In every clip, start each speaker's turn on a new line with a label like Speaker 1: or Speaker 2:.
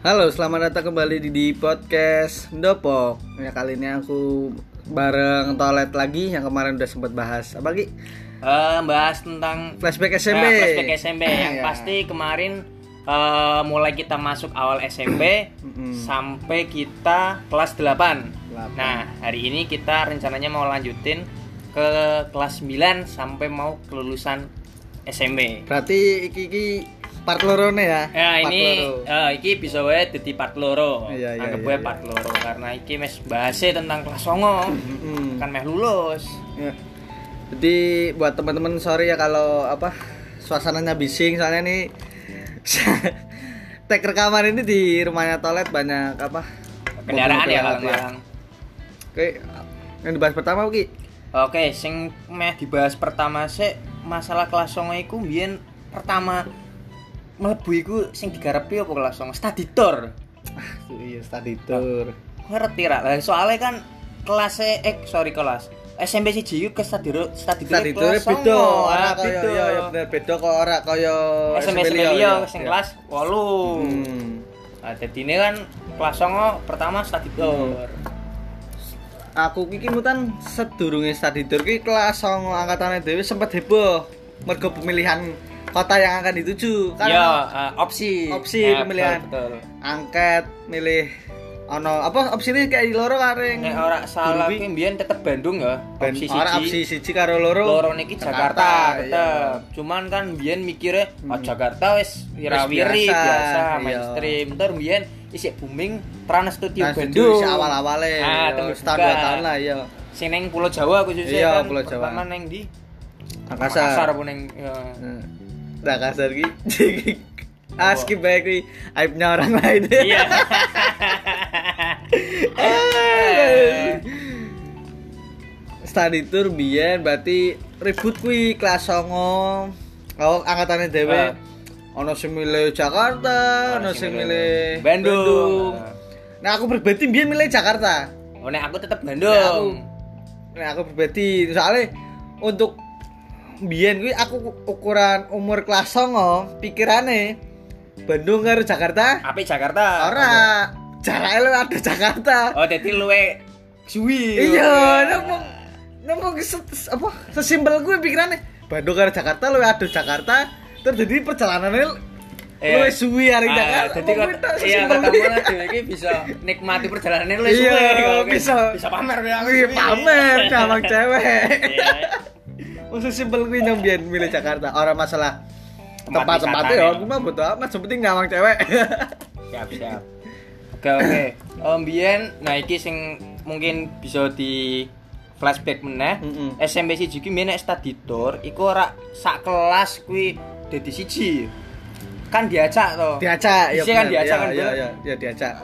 Speaker 1: Halo, selamat datang kembali di, di podcast Dopok. Ya kali ini aku bareng toilet lagi yang kemarin udah sempat bahas. Apa Ki?
Speaker 2: Eh, bahas tentang
Speaker 1: Flashback
Speaker 2: eh,
Speaker 1: SMP.
Speaker 2: flashback SMP yang
Speaker 1: Iya.
Speaker 2: pasti kemarin eh, mulai kita masuk awal SMP
Speaker 1: Mm-mm.
Speaker 2: sampai kita kelas 8.
Speaker 1: Delapan.
Speaker 2: Nah, hari ini kita rencananya mau lanjutin ke kelas 9 sampai mau kelulusan SMP.
Speaker 1: Berarti iki iki part lorone ya.
Speaker 2: Ya
Speaker 1: Part
Speaker 2: ini
Speaker 1: loro.
Speaker 2: eh, iki bisa wae dadi part loro.
Speaker 1: Iya, iya,
Speaker 2: Anggap
Speaker 1: iya,
Speaker 2: wae
Speaker 1: iya.
Speaker 2: part loro karena iki mes bahasnya tentang kelas songo.
Speaker 1: Mm-mm.
Speaker 2: kan meh lulus.
Speaker 1: Ya. Jadi buat teman-teman sorry ya kalau apa suasananya bising soalnya nih tag rekaman ini di rumahnya toilet banyak apa
Speaker 2: Kendaraan ya
Speaker 1: mobil-mobil lewat
Speaker 2: kalang-kalang.
Speaker 1: Oke, yang dibahas pertama Ki.
Speaker 2: Oke, sing meh dibahas pertama sih masalah kelas songo iku mbiyen pertama mlebu iku sing digarepi apa kelas songo? Study tour.
Speaker 1: Ah, iya study
Speaker 2: Oh.
Speaker 1: tour.
Speaker 2: Ngerti ra? Lah soalnya kan kelas e- eh sorry kelas SMP siji iku ke study ro- study tour
Speaker 1: Study tour
Speaker 2: kelas
Speaker 1: beda,
Speaker 2: songo.
Speaker 1: ora
Speaker 2: Ah,
Speaker 1: kaya ya ya
Speaker 2: beda.
Speaker 1: bener beda kok ora kaya
Speaker 2: SMP
Speaker 1: liya,
Speaker 2: liya
Speaker 1: ya.
Speaker 2: sing
Speaker 1: Ya.
Speaker 2: kelas 8.
Speaker 1: Hmm.
Speaker 2: Nah, dadine kan kelas songo pertama study tour.
Speaker 1: Aku iki mu kan sedurunge study tour ki kelas 9 angkatane dhewe sempat heboh mergo pemilihan kota yang akan dituju. Kan
Speaker 2: Ya,
Speaker 1: ono
Speaker 2: eh, opsi.
Speaker 1: opsi
Speaker 2: Eh, betul,
Speaker 1: pemilihan.
Speaker 2: betul.
Speaker 1: angket milih ono apa opsine kayak di loro karing.
Speaker 2: Nek ora salah
Speaker 1: Guru ki-
Speaker 2: ki mbiyen tetep Bandung ya.
Speaker 1: Ben,
Speaker 2: Opsi
Speaker 1: ora
Speaker 2: siji.
Speaker 1: opsi siji karo loro.
Speaker 2: loro niki Jakarta, tetep.
Speaker 1: iya. Hmm.
Speaker 2: Cuman kan mbiyen mikire oh Jakarta wis
Speaker 1: Wis
Speaker 2: wira-wiri
Speaker 1: biasa,
Speaker 2: biasa,
Speaker 1: iya.
Speaker 2: mainstream. Terus mbiyen isih booming Trans Studio
Speaker 1: Nah,
Speaker 2: Bandung.
Speaker 1: Bandung awal-awale. ya,
Speaker 2: Ah, tembus
Speaker 1: setahun
Speaker 2: buka.
Speaker 1: dua tahun lah iya.
Speaker 2: Sing neng Pulau Jawa khususnya
Speaker 1: Iya,
Speaker 2: kan.
Speaker 1: Pulau Jawa.
Speaker 2: Pertama neng di
Speaker 1: Makassar.
Speaker 2: apa neng ya.
Speaker 1: Nah, Nah, kasar ki. Ah, skip baik ki. Aibnya orang lain.
Speaker 2: Iya.
Speaker 1: Eh. Study tour biyen berarti ribut kuwi kelas 9. Oh, angkatane dhewe.
Speaker 2: Ah.
Speaker 1: Ono sing milih Jakarta, ono sing milih
Speaker 2: Bandung.
Speaker 1: Nah, aku pribadi biyen milih Jakarta.
Speaker 2: Oh, nek aku tetep
Speaker 1: Nek aku-
Speaker 2: Bandung.
Speaker 1: Nah, aku pribadi soalnya untuk biyen kuwi aku ukuran umur kelas 9 pikirane Bandung karo Jakarta
Speaker 2: Apik Jakarta.
Speaker 1: ora jaraknya lu ada Jakarta
Speaker 2: Oh, dadi luwe suwi.
Speaker 1: iya nemu nemu se- apa sesimpel gue pikirannya Bandung karo Jakarta lu ada Jakarta terus jadi perjalanannya
Speaker 2: Iya.
Speaker 1: lu suwi hari
Speaker 2: Ah,
Speaker 1: Jakarta
Speaker 2: jadi
Speaker 1: Mau
Speaker 2: kok
Speaker 1: gue tak
Speaker 2: iya
Speaker 1: sesimpel
Speaker 2: ketemu
Speaker 1: gue.
Speaker 2: lah dhewe iki bisa nikmati perjalanannya lu
Speaker 1: Iya,
Speaker 2: kok.
Speaker 1: bisa.
Speaker 2: bisa pamer ya aku
Speaker 1: Wih,
Speaker 2: suwe.
Speaker 1: pamer cabang cewek
Speaker 2: Iya.
Speaker 1: Wong sesimpel kuwi nyong biyen milih Jakarta, ora masalah.
Speaker 2: Tempat
Speaker 1: Tempat-tempatnya ya
Speaker 2: wisatanya.
Speaker 1: aku mah bodo amat, sing penting nyawang cewek.
Speaker 2: siap siap oke oke Om Bian nah iki sing mungkin bisa di flashback meneh
Speaker 1: Mm-mm.
Speaker 2: SMP siji ki mbiyen nek study tour iku ora sak kelas kuwi dadi siji kan diajak to
Speaker 1: diacak
Speaker 2: Isi
Speaker 1: bener,
Speaker 2: kan diacak kan,
Speaker 1: Iya,
Speaker 2: bener.
Speaker 1: iya, iya, diacak.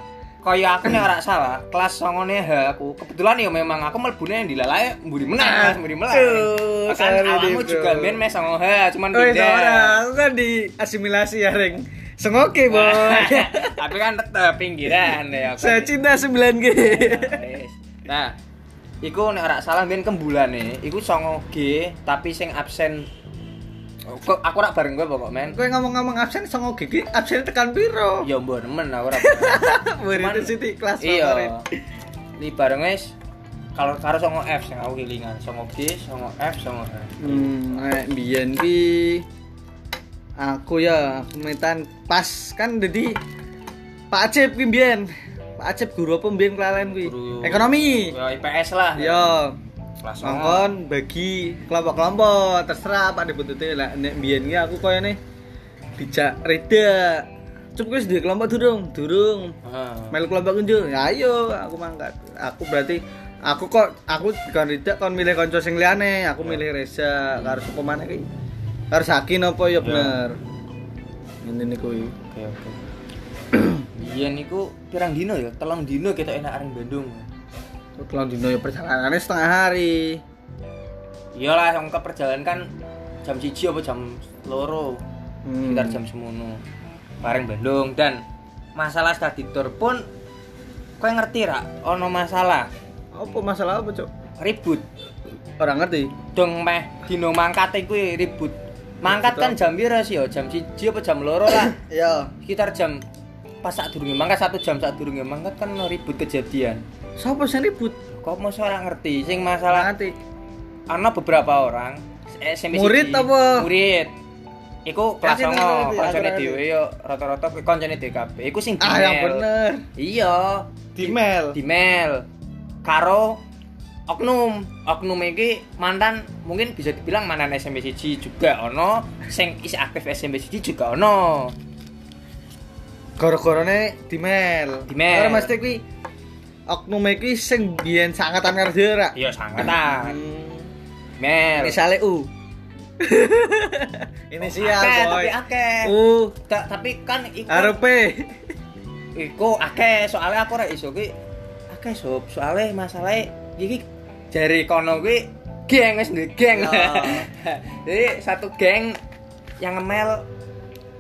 Speaker 2: kaya aku nih ora salah kelas songone ha aku kebetulan ya memang aku melbune yang dilalae mburi menang mburi melas
Speaker 1: Aduh,
Speaker 2: kan
Speaker 1: sorry,
Speaker 2: awakmu
Speaker 1: Dito.
Speaker 2: juga ben mes songo ha cuman
Speaker 1: Oh, iya, ora,
Speaker 2: pindah
Speaker 1: aku kan di asimilasi ya, Ring. Sengoke, Boy.
Speaker 2: tapi kan tetep pinggiran ya aku
Speaker 1: Saya cinta 9G.
Speaker 2: Wis. nah iku nek ora salah ben kembulane iku songo G tapi sing absen Kok aku ora bareng kowe pokok men
Speaker 1: Kowe ngomong-ngomong absen songo gigi, absen tekan piro?
Speaker 2: ya mbok nemen aku ora bareng.
Speaker 1: Murid
Speaker 2: Cuman-
Speaker 1: City kelas favorit.
Speaker 2: iya li bareng wis kalau karo songo F sing aku kelingan songo G songo F songo H
Speaker 1: Hmm, nek mbiyen ki aku ya aku metan pas kan jadi Pak Acep ki mbiyen. Pak Acep guru apa mbiyen kelalen kuwi?
Speaker 2: Guru- Ah.
Speaker 1: Ekonomi.
Speaker 2: ya IPS lah
Speaker 1: Yo,
Speaker 2: kelas songo
Speaker 1: mongkon bagi kelompok-kelompok terserah Pak dibuntuti lah nek mbiyen ki aku koyo ne dijak reda. Cukup wis duwe kelompok durung? Durung.
Speaker 2: Heeh.
Speaker 1: Melu kelompok kunjung. Ya ayo aku mangkat. Aku berarti aku kok aku kan tidak kon milih konco sing liyane,
Speaker 2: Ya.
Speaker 1: aku milih Reza karo sapa maneh iki. Karo Sakin apa ya bener. Ini nih kuwi.
Speaker 2: oke oke Iya niku pirang dino ya, telung dino kita enak areng Bandung.
Speaker 1: Kalau dino ya perjalanannya setengah hari.
Speaker 2: Iyalah, yang ke perjalanan kan jam siji apa jam loro.
Speaker 1: Hmm.
Speaker 2: sekitar jam semono bareng Bandung dan masalah study tour pun kowe ngerti ra ono masalah
Speaker 1: Apa masalah apa, Cok?
Speaker 2: ribut
Speaker 1: Orang ngerti.
Speaker 2: dong meh dino mangkat kuwi ribut mangkat kan jam pira sih ya jam 1 apa jam loro lah
Speaker 1: Iya.
Speaker 2: sekitar jam 4 pas saat durunge mangkat satu jam saat durunge mangkat kan ono ribut kejadian.
Speaker 1: Sopo sing ribut?
Speaker 2: Kok mau ora ngerti sing masalah
Speaker 1: Nanti.
Speaker 2: ana beberapa orang eh, SMP
Speaker 1: Murid
Speaker 2: siji.
Speaker 1: apa?
Speaker 2: Murid. Iku kelas
Speaker 1: Kasih tahu
Speaker 2: songo,
Speaker 1: nanti,
Speaker 2: koncone
Speaker 1: aku
Speaker 2: dhewe yo rata-rata koncone DKB. Iku sing
Speaker 1: Ah, yang
Speaker 2: dimel.
Speaker 1: bener.
Speaker 2: Iya,
Speaker 1: Dimel.
Speaker 2: dimel karo oknum oknum iki mantan mungkin bisa dibilang mantan SMP siji juga ono sing is aktif SMP siji juga ono
Speaker 1: Gara-garane dimel.
Speaker 2: Dimel.
Speaker 1: Ora mesti kuwi oknum iki sing biyen sangatan karo dhewe ra.
Speaker 2: iya sangetan
Speaker 1: Hmm.
Speaker 2: mel
Speaker 1: Inisiale U. Inisial
Speaker 2: Akeh,
Speaker 1: boy.
Speaker 2: tapi akeh
Speaker 1: U
Speaker 2: Ta- tapi kan iku
Speaker 1: arep
Speaker 2: iku akeh soalnya aku ora iso ki akeh sob soalnya masalahnya iki jari kono kuwi geng wis duwe geng
Speaker 1: Ya.
Speaker 2: jadi satu geng yang ngemel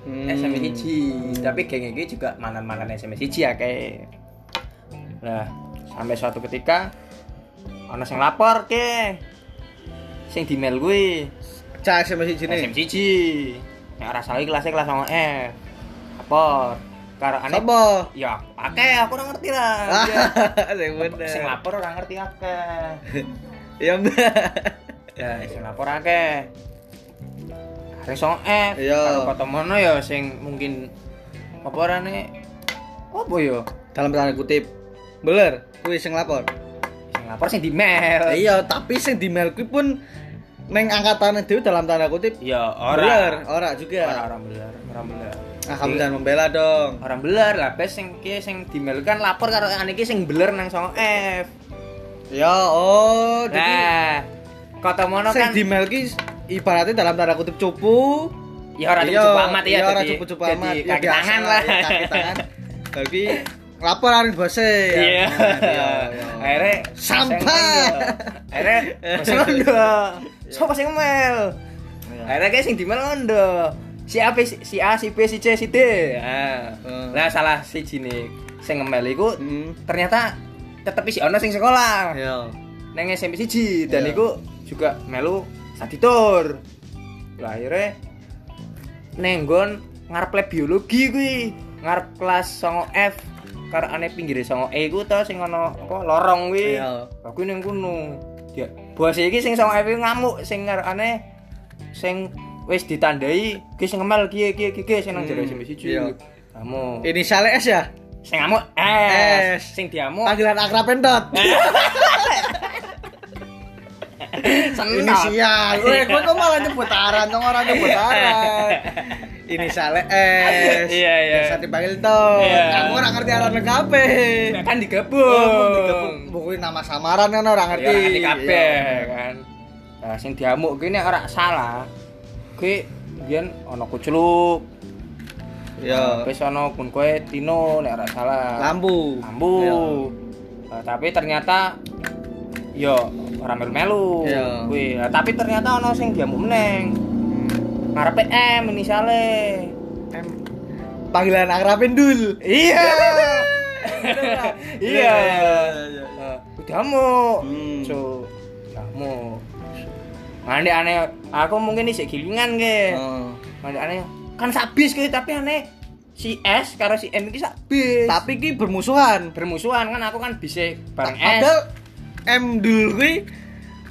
Speaker 1: Hmm.
Speaker 2: SMP siji tapi geng ini juga mantan-mantan SMP siji ya kayak nah sampai suatu ketika ono sing lapor ke sing di mail gue
Speaker 1: cah SMP
Speaker 2: SMP
Speaker 1: siji.
Speaker 2: siji yang ora salah iki kelasnya kelas sama F lapor karo aneh
Speaker 1: Sopo?
Speaker 2: ya akeh aku ora ngerti lah Iya.
Speaker 1: Ah. Sing bener.
Speaker 2: sing lapor ora ngerti akeh
Speaker 1: Ya mbak.
Speaker 2: ya sing lapor akeh hari song F
Speaker 1: Iya.
Speaker 2: karo ketemono ya sing mungkin apa orane apa ya
Speaker 1: Dalam tanda kutip. Bener, kuwi sing lapor.
Speaker 2: sing lapor sing di mail
Speaker 1: Iya, tapi sing dimel kuwi pun neng angkatane dhewe dalam tanda kutip.
Speaker 2: ya
Speaker 1: Bener, ora
Speaker 2: orang
Speaker 1: juga.
Speaker 2: orang orang belar orang belar
Speaker 1: Ah, kamu jangan membela dong.
Speaker 2: orang belar lah bes sing ki sing di mail kan lapor karo ane ki sing beler nang song F
Speaker 1: Ya, oh, jadi
Speaker 2: nah kota mono
Speaker 1: sing
Speaker 2: kan
Speaker 1: dimel ki ibaratnya dalam tanda kutip cupu.
Speaker 2: ya orang
Speaker 1: Iya,
Speaker 2: cukup amat ya
Speaker 1: iya, ora
Speaker 2: jadi-
Speaker 1: cupu-cupu
Speaker 2: jadi
Speaker 1: amat. Ya,
Speaker 2: kaki
Speaker 1: biasa
Speaker 2: tangan lah
Speaker 1: ya, Kaki tangan. Tapi lapor aring bose. ya.
Speaker 2: iya
Speaker 1: Iya, iya.
Speaker 2: akhirnya
Speaker 1: Sampah.
Speaker 2: akhirnya sing ondo sopo sing mel
Speaker 1: Iya.
Speaker 2: akhirnya kayak sing di mel ondo si A si- si A si B si C si D nah,
Speaker 1: Hmm.
Speaker 2: nah salah si jine sing ngemel iku
Speaker 1: Hmm.
Speaker 2: ternyata tetep si ono sing sekolah
Speaker 1: Iya.
Speaker 2: neng SMP siji dan
Speaker 1: Iya.
Speaker 2: iku juga melu satitor lah akhirnya neng nggon ngarep lab biologi kuwi ngarep kelas songo F karo ane pinggir songo E ku tau sing ono apa lorong kuwi
Speaker 1: Iya.
Speaker 2: aku neng kuno dia bos iki sing songo F kuwi ngamuk sing karo ane sing wis ditandai ki sing ngemel ki ki ki ki sing nang jero
Speaker 1: Hmm,
Speaker 2: SMP siji
Speaker 1: iya.
Speaker 2: kamu
Speaker 1: Inisiale S ya?
Speaker 2: sing ngamuk
Speaker 1: S.
Speaker 2: eh sing diamuk
Speaker 1: Panggilan akrab endot.
Speaker 2: Eh, seneng
Speaker 1: Inisial. Weh, kok kok malah nyebut aran, dong orang nyebut aran. Inisiale S.
Speaker 2: Iya, iya.
Speaker 1: Biasa dipanggil dong.
Speaker 2: Iya.
Speaker 1: Kamu orang ngerti aran lengkape.
Speaker 2: kan digabung
Speaker 1: Buku buku nama samaran Oh, kan orang
Speaker 2: ngerti
Speaker 1: ngerti.
Speaker 2: ngerti kabeh
Speaker 1: Iya.
Speaker 2: kan nah sing diamuk kuwi nek ora salah kuwi biyen ana kucluk
Speaker 1: Iya.
Speaker 2: wis ana kun kowe tino nek ora salah
Speaker 1: Lampu. Iya.
Speaker 2: lampu Nah, tapi ternyata yo ora melu-melu
Speaker 1: Iya.
Speaker 2: kuwi Nah, tapi ternyata ana sing diamuk meneng
Speaker 1: Hmm.
Speaker 2: ngarepe M inisiale
Speaker 1: Iya. Em, Panggilan akrabin dul.
Speaker 2: iya
Speaker 1: Iya.
Speaker 2: iya Nah, diamuk
Speaker 1: Hmm.
Speaker 2: So, kamu Mandi aneh, aku mungkin ini gilingan ke.
Speaker 1: Oh.
Speaker 2: Mandi aneh, kan sabis ke tapi aneh si S karo si M ini
Speaker 1: Eh,
Speaker 2: sabis.
Speaker 1: Tapi ki bermusuhan.
Speaker 2: bermusuhan kan aku kan bisa bareng S.
Speaker 1: Padahal M dul kuwi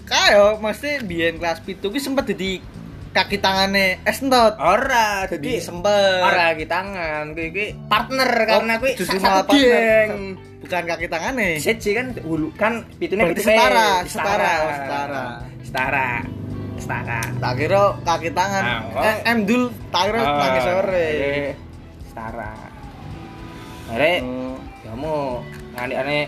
Speaker 1: kayo mesti biyen kelas 7 kuwi sempet dadi kaki tangane S entot.
Speaker 2: Ora,
Speaker 1: Jadi
Speaker 2: jadi
Speaker 1: sempet.
Speaker 2: ora lagi tangan, kuwi kuwi partner karena kuwi
Speaker 1: justru
Speaker 2: satu
Speaker 1: malah partner.
Speaker 2: geng.
Speaker 1: Bukan kaki tangane.
Speaker 2: Seji kan hulu kan pitunya
Speaker 1: Berarti
Speaker 2: pitu B.
Speaker 1: setara, setara, oh, setara.
Speaker 2: setara. Setara. Setara.
Speaker 1: Tak kira kaki tangan.
Speaker 2: Ah, oh.
Speaker 1: Eh, M dul tak kira
Speaker 2: Ah,
Speaker 1: tangi sore.
Speaker 2: eh, Setara. Arek
Speaker 1: Oh.
Speaker 2: kamu ngani aneh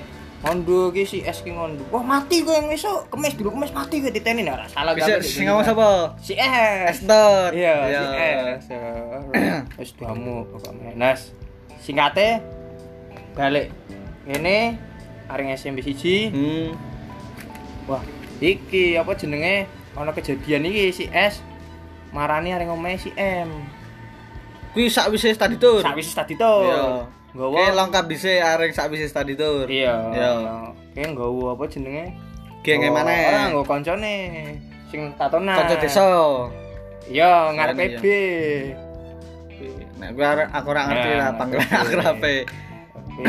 Speaker 2: ngondo ki si es ki ngondo wah mati gue yang esok kemis dulu kemis mati gue diteni nah ora salah
Speaker 1: Bisa
Speaker 2: gambar di
Speaker 1: sing
Speaker 2: dunia.
Speaker 1: ngomong sapa?
Speaker 2: si es
Speaker 1: S entot.
Speaker 2: iya si es ya. terus kamu pokok menes Nah, singkatnya balik ini areng SMP siji
Speaker 1: Hmm.
Speaker 2: wah iki apa jenenge ono kejadian iki si es marani areng omahe si M
Speaker 1: Kuwi sakwise tadi tur.
Speaker 2: sakwis tadi
Speaker 1: Iya.
Speaker 2: to
Speaker 1: Oke,
Speaker 2: nggawa
Speaker 1: lengkap dhisik areng sakwise tadi tur.
Speaker 2: iya
Speaker 1: Iya.
Speaker 2: kayak nggawa apa jenenge
Speaker 1: Geng e
Speaker 2: Oh,
Speaker 1: maneh.
Speaker 2: Ora nggo koncone sing tatonan.
Speaker 1: Kanca desa.
Speaker 2: Iya, ngarepe
Speaker 1: Iya.
Speaker 2: B.
Speaker 1: Nek gue aku ora ngerti
Speaker 2: Nah,
Speaker 1: lah panggilan
Speaker 2: oke.
Speaker 1: akrabe.
Speaker 2: Oke.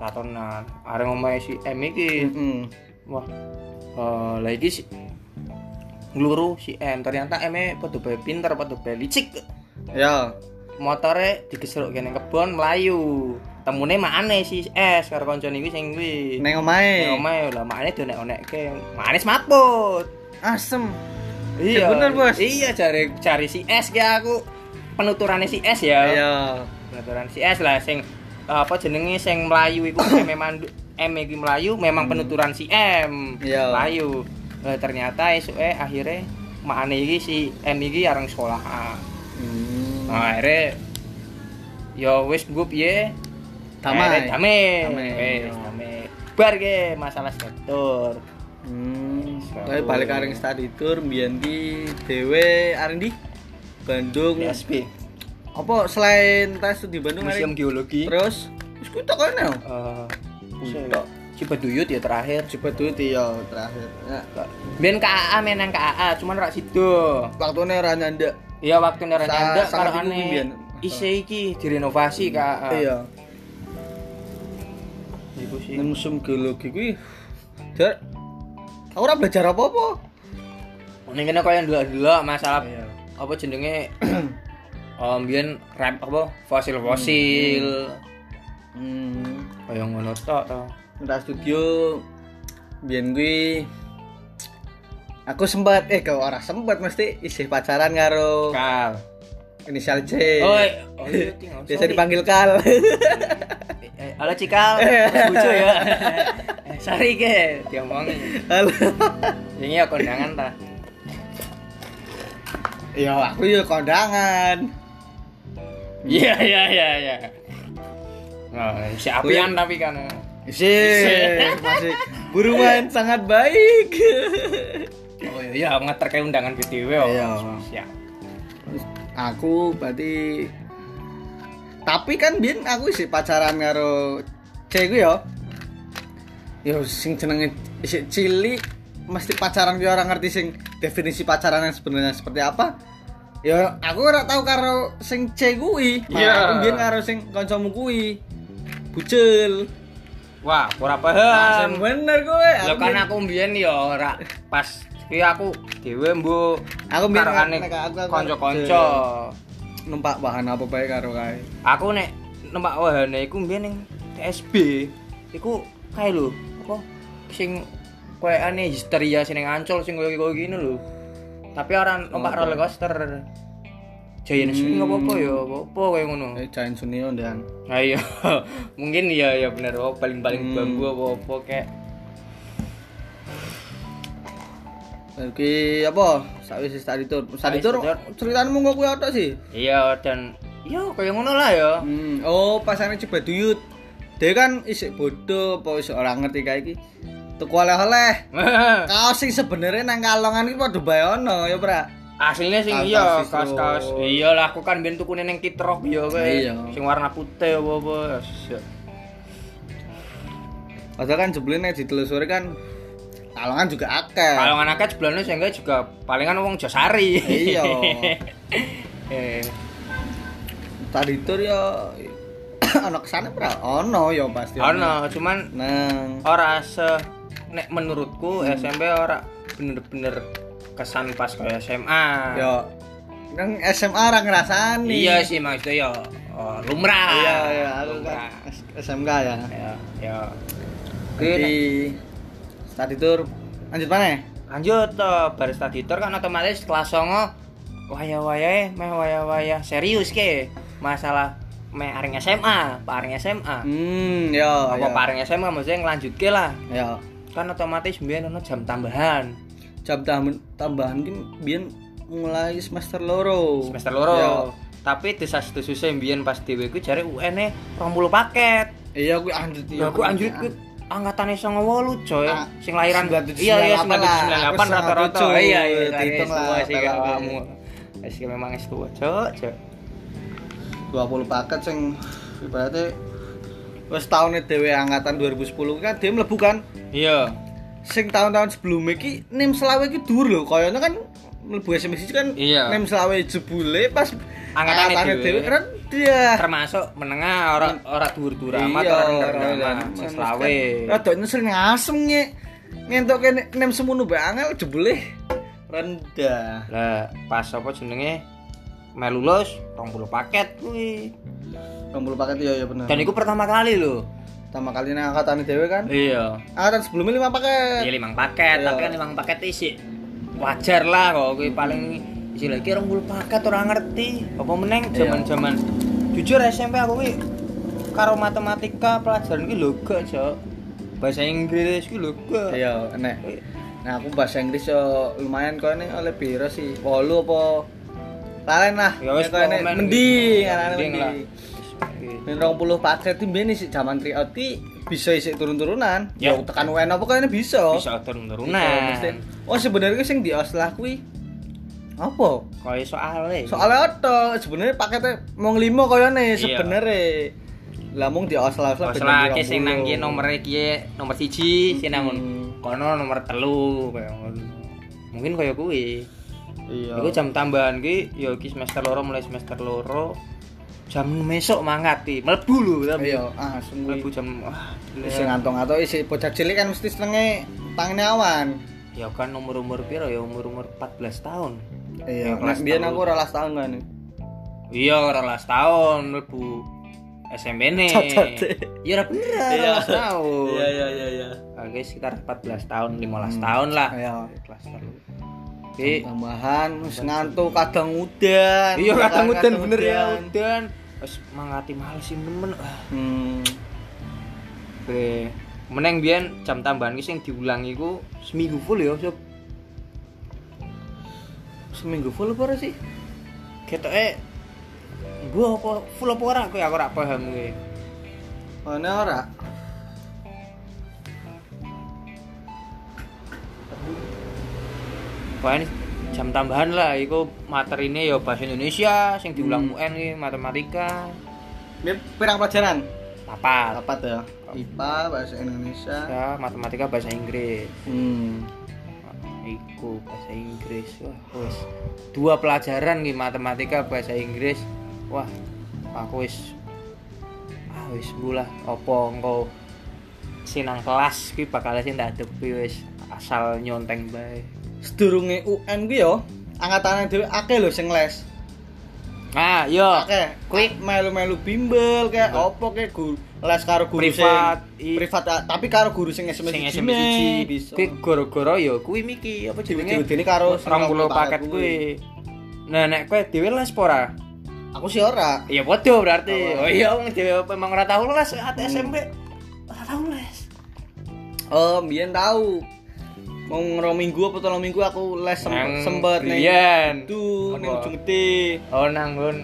Speaker 2: Latonan. Areng omahe si M iki.
Speaker 1: Heeh.
Speaker 2: Wah. Eh, lah iki si ngluru si M. Ternyata M e padha bae pinter, padha bae licik.
Speaker 1: Ya,
Speaker 2: Motore digeseruk kene kebon mlayu. Temune makane si S karo kancane iki sing kuwi.
Speaker 1: neng omahe.
Speaker 2: Nek omahe lah makane dionek-onekke. Makane semaput.
Speaker 1: Asem.
Speaker 2: Iya.
Speaker 1: Eh, bener, Bos.
Speaker 2: Iya, cari cari si S ki aku. Penuturannya si S ya.
Speaker 1: Ya.
Speaker 2: penuturan si S lah sing eh, apa jenenge sing Melayu iku memang M iki Melayu memang penuturan si M
Speaker 1: Hmm. Iya.
Speaker 2: Melayu Eh, ternyata esuke akhirnya makane iki si M iki areng sekolah
Speaker 1: Hmm.
Speaker 2: nah, akhirnya yo wis gue piye
Speaker 1: Damai.
Speaker 2: Akhirnya damai
Speaker 1: Damai,
Speaker 2: wis
Speaker 1: iya.
Speaker 2: damai bar ge masalah struktur
Speaker 1: Hmm. Tapi balik areng study tour mbiyen ki dhewe areng di Bandung.
Speaker 2: PSP
Speaker 1: Apa selain tes di Bandung areng
Speaker 2: Museum Geologi
Speaker 1: terus ya, wis kuwi tok kene.
Speaker 2: Eh,
Speaker 1: Budak.
Speaker 2: Cibaduyut ya terakhir
Speaker 1: Cibaduyut ya terakhir. Ya.
Speaker 2: Ben KAA menang KAA cuman rak situ
Speaker 1: Waktune ora nyandek.
Speaker 2: Iya waktu
Speaker 1: Sa-
Speaker 2: nyanda
Speaker 1: sangat
Speaker 2: karo
Speaker 1: bingung mbiyen.
Speaker 2: aneh. Isi iki direnovasi Kak.
Speaker 1: Iya.
Speaker 2: Iku sih.
Speaker 1: Ning museum geologi kuwi Dek, aku ora belajar apa-apa.
Speaker 2: Ning kene koyo ndelok-ndelok masalah
Speaker 1: Iya.
Speaker 2: apa jenenge oh mbiyen rap apa fosil-fosil.
Speaker 1: Hmm.
Speaker 2: Koyo ngono tok to.
Speaker 1: Minta studio biyen kuwi aku sempat eh kau ora sempat mesti isih pacaran karo
Speaker 2: Kal.
Speaker 1: inisial C.
Speaker 2: Oi, oh iya ting. oh,
Speaker 1: Eh. Biasa
Speaker 2: sorry.
Speaker 1: dipanggil Kal.
Speaker 2: Eh, eh, Halo Cikal, Mas Bucu ya. Eh, Sorry ge, diomongin.
Speaker 1: Halo.
Speaker 2: Ini ya kondangan ta.
Speaker 1: Iya, aku ya kondangan.
Speaker 2: Iya iya iya iya. Nah, si apian tapi kan.
Speaker 1: Isih, masih buruan sangat baik.
Speaker 2: Oh iya, iya ngeter kayak undangan BTW. oh.
Speaker 1: Iya.
Speaker 2: Siap.
Speaker 1: aku berarti tapi kan biyen aku isih pacaran karo C ku yo. Yo sing jenenge isih cilik mesti pacaran yo orang ngerti sing definisi pacaran yang sebenarnya seperti apa. Yo aku ora tahu karo sing C kuwi. Malah
Speaker 2: Iya.
Speaker 1: aku Biyen karo sing kancamu kuwi. Bucil.
Speaker 2: Wah, ora
Speaker 1: Nah, sing
Speaker 2: paham.
Speaker 1: bener kowe.
Speaker 2: Lho kan
Speaker 1: biyen-
Speaker 2: aku mbiyen ya ora pas iki aku dhewe mbok
Speaker 1: Aku mbiyen
Speaker 2: karone
Speaker 1: nek aku- aku-
Speaker 2: kanca-kanca.
Speaker 1: numpak bahan apa bae karo kae.
Speaker 2: Aku nek nempak wahane iku mbiyen ning TSB. Iku kae lho, apa sing koyane histeria sing ning Ancol sing koyo-koyo ngene lho. Tapi ora numpak
Speaker 1: Apa?
Speaker 2: roller coaster. Jayan swing
Speaker 1: Hmm.
Speaker 2: apa-apa ya, apa-apa koyo ngono.
Speaker 1: Eh Jain Sunio ndang.
Speaker 2: Ayo, mungkin ya ya benar oh, paling-paling
Speaker 1: Hmm.
Speaker 2: bambu apa-apa kayak
Speaker 1: Oke, apa? Sawis study tour. Study tour
Speaker 2: Study
Speaker 1: ceritamu kok kuwi otok sih.
Speaker 2: Iya dan yo kayak ngono lah ya.
Speaker 1: Hmm, oh pasangan Cibaduyut. Dia kan isik bodoh apa isik ora ngerti kae iki. Tuku oleh-oleh. Kaos sing sebenarnya nang kalongan iki padha bae ono ya, Pra.
Speaker 2: Aslinya sing
Speaker 1: Kaos-kaos
Speaker 2: iya
Speaker 1: distro.
Speaker 2: kaos-kaos. Iya lah aku kan ben tuku neng kitrok ya kowe.
Speaker 1: Iya.
Speaker 2: Sing warna putih apa-apa. Sik.
Speaker 1: Padahal kan jebulene ditelusuri kan kalongan juga akeh.
Speaker 2: Kalau anak akeh sebelumnya sehingga ya juga palingan wong Josari.
Speaker 1: Iya.
Speaker 2: Eh,
Speaker 1: Study tour ya ono kesane Pra. Ono ya pasti.
Speaker 2: Ono cuman
Speaker 1: Nang
Speaker 2: ora se nek menurutku
Speaker 1: Hmm.
Speaker 2: SMP ora bener-bener kesan pas kayak SMA.
Speaker 1: ya nang SMA ora ngrasani.
Speaker 2: Iya sih maksudnya ya oh, lumrah.
Speaker 1: Iya, iya, aku kan
Speaker 2: lumrah.
Speaker 1: S- SMK ya.
Speaker 2: Ya, ya.
Speaker 1: Jadi study tour lanjut mana ya?
Speaker 2: lanjut to barista editor kan otomatis kelas songo waya waya meh waya waya serius ke masalah meh areng SMA pareng SMA
Speaker 1: Hmm, ya. ya.
Speaker 2: apa pareng SMA maksudnya ngelanjut ke lah
Speaker 1: Ya.
Speaker 2: kan otomatis biar ono jam tambahan
Speaker 1: Jam tambahan tambahan ki biyen mulai semester loro.
Speaker 2: semester
Speaker 1: Ya.
Speaker 2: loro tapi desa satu susah biar pas dewe ku jare UN e 20 paket
Speaker 1: Iya, aku anjut.
Speaker 2: ya aku anjir ku angkatan songo wolu coy
Speaker 1: Ah,
Speaker 2: sing lahiran
Speaker 1: 1998
Speaker 2: iya iya
Speaker 1: lah.
Speaker 2: 98
Speaker 1: Aku
Speaker 2: rata-rata
Speaker 1: 97,
Speaker 2: iya iya
Speaker 1: dihitung
Speaker 2: dihitung
Speaker 1: lah,
Speaker 2: lah sih
Speaker 1: pelak.
Speaker 2: kamu Wis memang es tua, cok, cok.
Speaker 1: 20 paket sing ibaratnya wis tahunnya dhewe angkatan 2010 kan dia mlebu kan
Speaker 2: Iya.
Speaker 1: sing tahun-tahun sebelumnya ki nim selawe ki dhuwur lho kayaknya kan mlebu SMC kan
Speaker 2: Iya.
Speaker 1: nim selawe jebule pas
Speaker 2: angkatane dhewe.
Speaker 1: rendah.
Speaker 2: Termasuk menengah ora ora dhuwur-dhuwur amat
Speaker 1: Iya,
Speaker 2: ora
Speaker 1: ora
Speaker 2: rendah
Speaker 1: rendah.
Speaker 2: amat selawe.
Speaker 1: Rada nyesel ngasem nge. Ngentok kene nem semono bae angel jebule. Rendah.
Speaker 2: Lah pas apa jenenge melu lulus 20 paket kuwi.
Speaker 1: 20 paket ya ya bener.
Speaker 2: Dan iku pertama kali lho.
Speaker 1: Pertama kali ini angkatane dhewe kan.
Speaker 2: Iya.
Speaker 1: Angkatan sebelumnya 5 paket.
Speaker 2: Iya limang paket,
Speaker 1: Iya.
Speaker 2: tapi kan limang paket isi wajar lah kok kuwi paling isi lagi orang bulu paket orang ngerti apa meneng zaman zaman jujur SMP aku kuwi karo matematika pelajaran kuwi lho gak Cok. bahasa Inggris kuwi lho gak
Speaker 1: Iya, enek. Nah, aku bahasa Inggris yo lumayan kok ini oleh piro sih? 8 apa lalen lah. Iya
Speaker 2: Ya wis,
Speaker 1: Kok ini
Speaker 2: pokoknya
Speaker 1: mending, anak-anak
Speaker 2: Mending lah.
Speaker 1: mending. Ning 20 paket iki mbene sih jaman tryout ki bisa isik turun-turunan.
Speaker 2: Ya.
Speaker 1: Ya tekan UN apa kok ini bisa.
Speaker 2: bisa turun turunan
Speaker 1: Bisa, mesti. Oh, sebenarnya sing di Oslah kuwi apa?
Speaker 2: kaya soalnya
Speaker 1: Soalnya oto sebenarnya paketnya mau ngelimo kaya nih
Speaker 2: Iya.
Speaker 1: sebenarnya. Lah mung di Oslah Oslah
Speaker 2: Pas
Speaker 1: beda
Speaker 2: lagi
Speaker 1: 20.
Speaker 2: sing nang ki nomor iki nomor 1 sing nang
Speaker 1: Hmm.
Speaker 2: kono nomor 3 kaya ngono. Mungkin kaya kuwi.
Speaker 1: Iya.
Speaker 2: Iku jam tambahan ki ya ki semester loro mulai semester loro jam mesok mangkat ki. Mlebu lho tapi.
Speaker 1: Iya, ah sungguh.
Speaker 2: Mlebu jam wah. gila.
Speaker 1: Isi ngantong atau isi bocah cilik kan mesti senenge tangannya awan.
Speaker 2: Ya kan umur-umur piro ya umur-umur 14 tahun.
Speaker 1: Iya, kelas
Speaker 2: kelas
Speaker 1: biyen
Speaker 2: tahun.
Speaker 1: aku ora las tahun kan.
Speaker 2: Iya, 14 tahun mlebu SMP ne.
Speaker 1: Cocote.
Speaker 2: Iya ora bener, 14 tahun.
Speaker 1: iya iya iya.
Speaker 2: Oke, sekitar 14 tahun, 15 tahun lah.
Speaker 1: Iya.
Speaker 2: kelas telu.
Speaker 1: Jadi, tambahan wis ngantuk kadang udan.
Speaker 2: Iya kadang udan bener ya
Speaker 1: udan.
Speaker 2: udan. Wes mangati males sih temen. Ah,
Speaker 1: Hmm.
Speaker 2: Bre. Meneng biyen jam tambahan iki sing diulang iku seminggu full ya, Sob.
Speaker 1: Seminggu full apa ora sih?
Speaker 2: Ketoke gua apa full apa ora kowe aku ora paham kowe.
Speaker 1: Ana ora.
Speaker 2: Pokoknya jam tambahan lah iku materine ya bahasa Indonesia sing diulang UN iki matematika.
Speaker 1: Ini pirang pelajaran.
Speaker 2: Papat.
Speaker 1: Apa ya? IPA, bahasa Indonesia.
Speaker 2: Ya, matematika bahasa Inggris.
Speaker 1: Hmm.
Speaker 2: Iku bahasa Inggris. Wah, wis. Dua pelajaran nih matematika bahasa Inggris. Wah, aku wis ah wis bulah opo engko sinang kelas ki bakal sing tak adepi wis asal nyonteng bae.
Speaker 1: Sedurunge UN kuwi yo angkatane dhewe akeh lho sing les.
Speaker 2: Ah, yo.
Speaker 1: akeh kuwi melu-melu bimbel kayak opo kayak guru les karo guru
Speaker 2: Privat, i-
Speaker 1: sing privat ah, tapi karo guru sing SMS
Speaker 2: Sing
Speaker 1: siji
Speaker 2: SMP
Speaker 1: meh,
Speaker 2: siji.
Speaker 1: bisa
Speaker 2: Kuwi gara-gara yo kuwi miki apa jenenge?
Speaker 1: Diwujud-wujudine karo sing
Speaker 2: Rong puluh
Speaker 1: 20
Speaker 2: paket
Speaker 1: paket
Speaker 2: kuwi. Nah, nek kowe dhewe les apa ora?
Speaker 1: aku sih ora
Speaker 2: Iya bodoh berarti.
Speaker 1: Apa?
Speaker 2: Oh iya, wong dhewe memang ora tau les at
Speaker 1: Hmm.
Speaker 2: SMP. Ora tau les.
Speaker 1: oh mbiyen tau mau ngero minggu apa tolong minggu aku les sempet
Speaker 2: Nang
Speaker 1: sempet ning
Speaker 2: Brian.
Speaker 1: itu ning
Speaker 2: Apa?
Speaker 1: ujung gede
Speaker 2: Oh nanggun.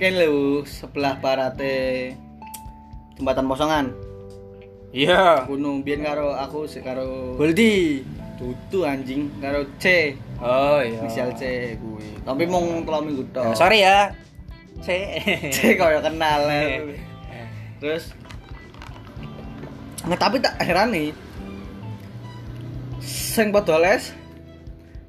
Speaker 1: kan lho sebelah barate jembatan posongan
Speaker 2: Iya.
Speaker 1: gunung biyen karo aku sik karo
Speaker 2: Goldi.
Speaker 1: tutu anjing karo C
Speaker 2: Oh iya.
Speaker 1: inisial C kuwi tapi mau tolong minggu
Speaker 2: Eh,
Speaker 1: tok
Speaker 2: sorry ya. C.
Speaker 1: C kaya kenal ya. Terus Nah, tapi tak heran nih. Sing padha les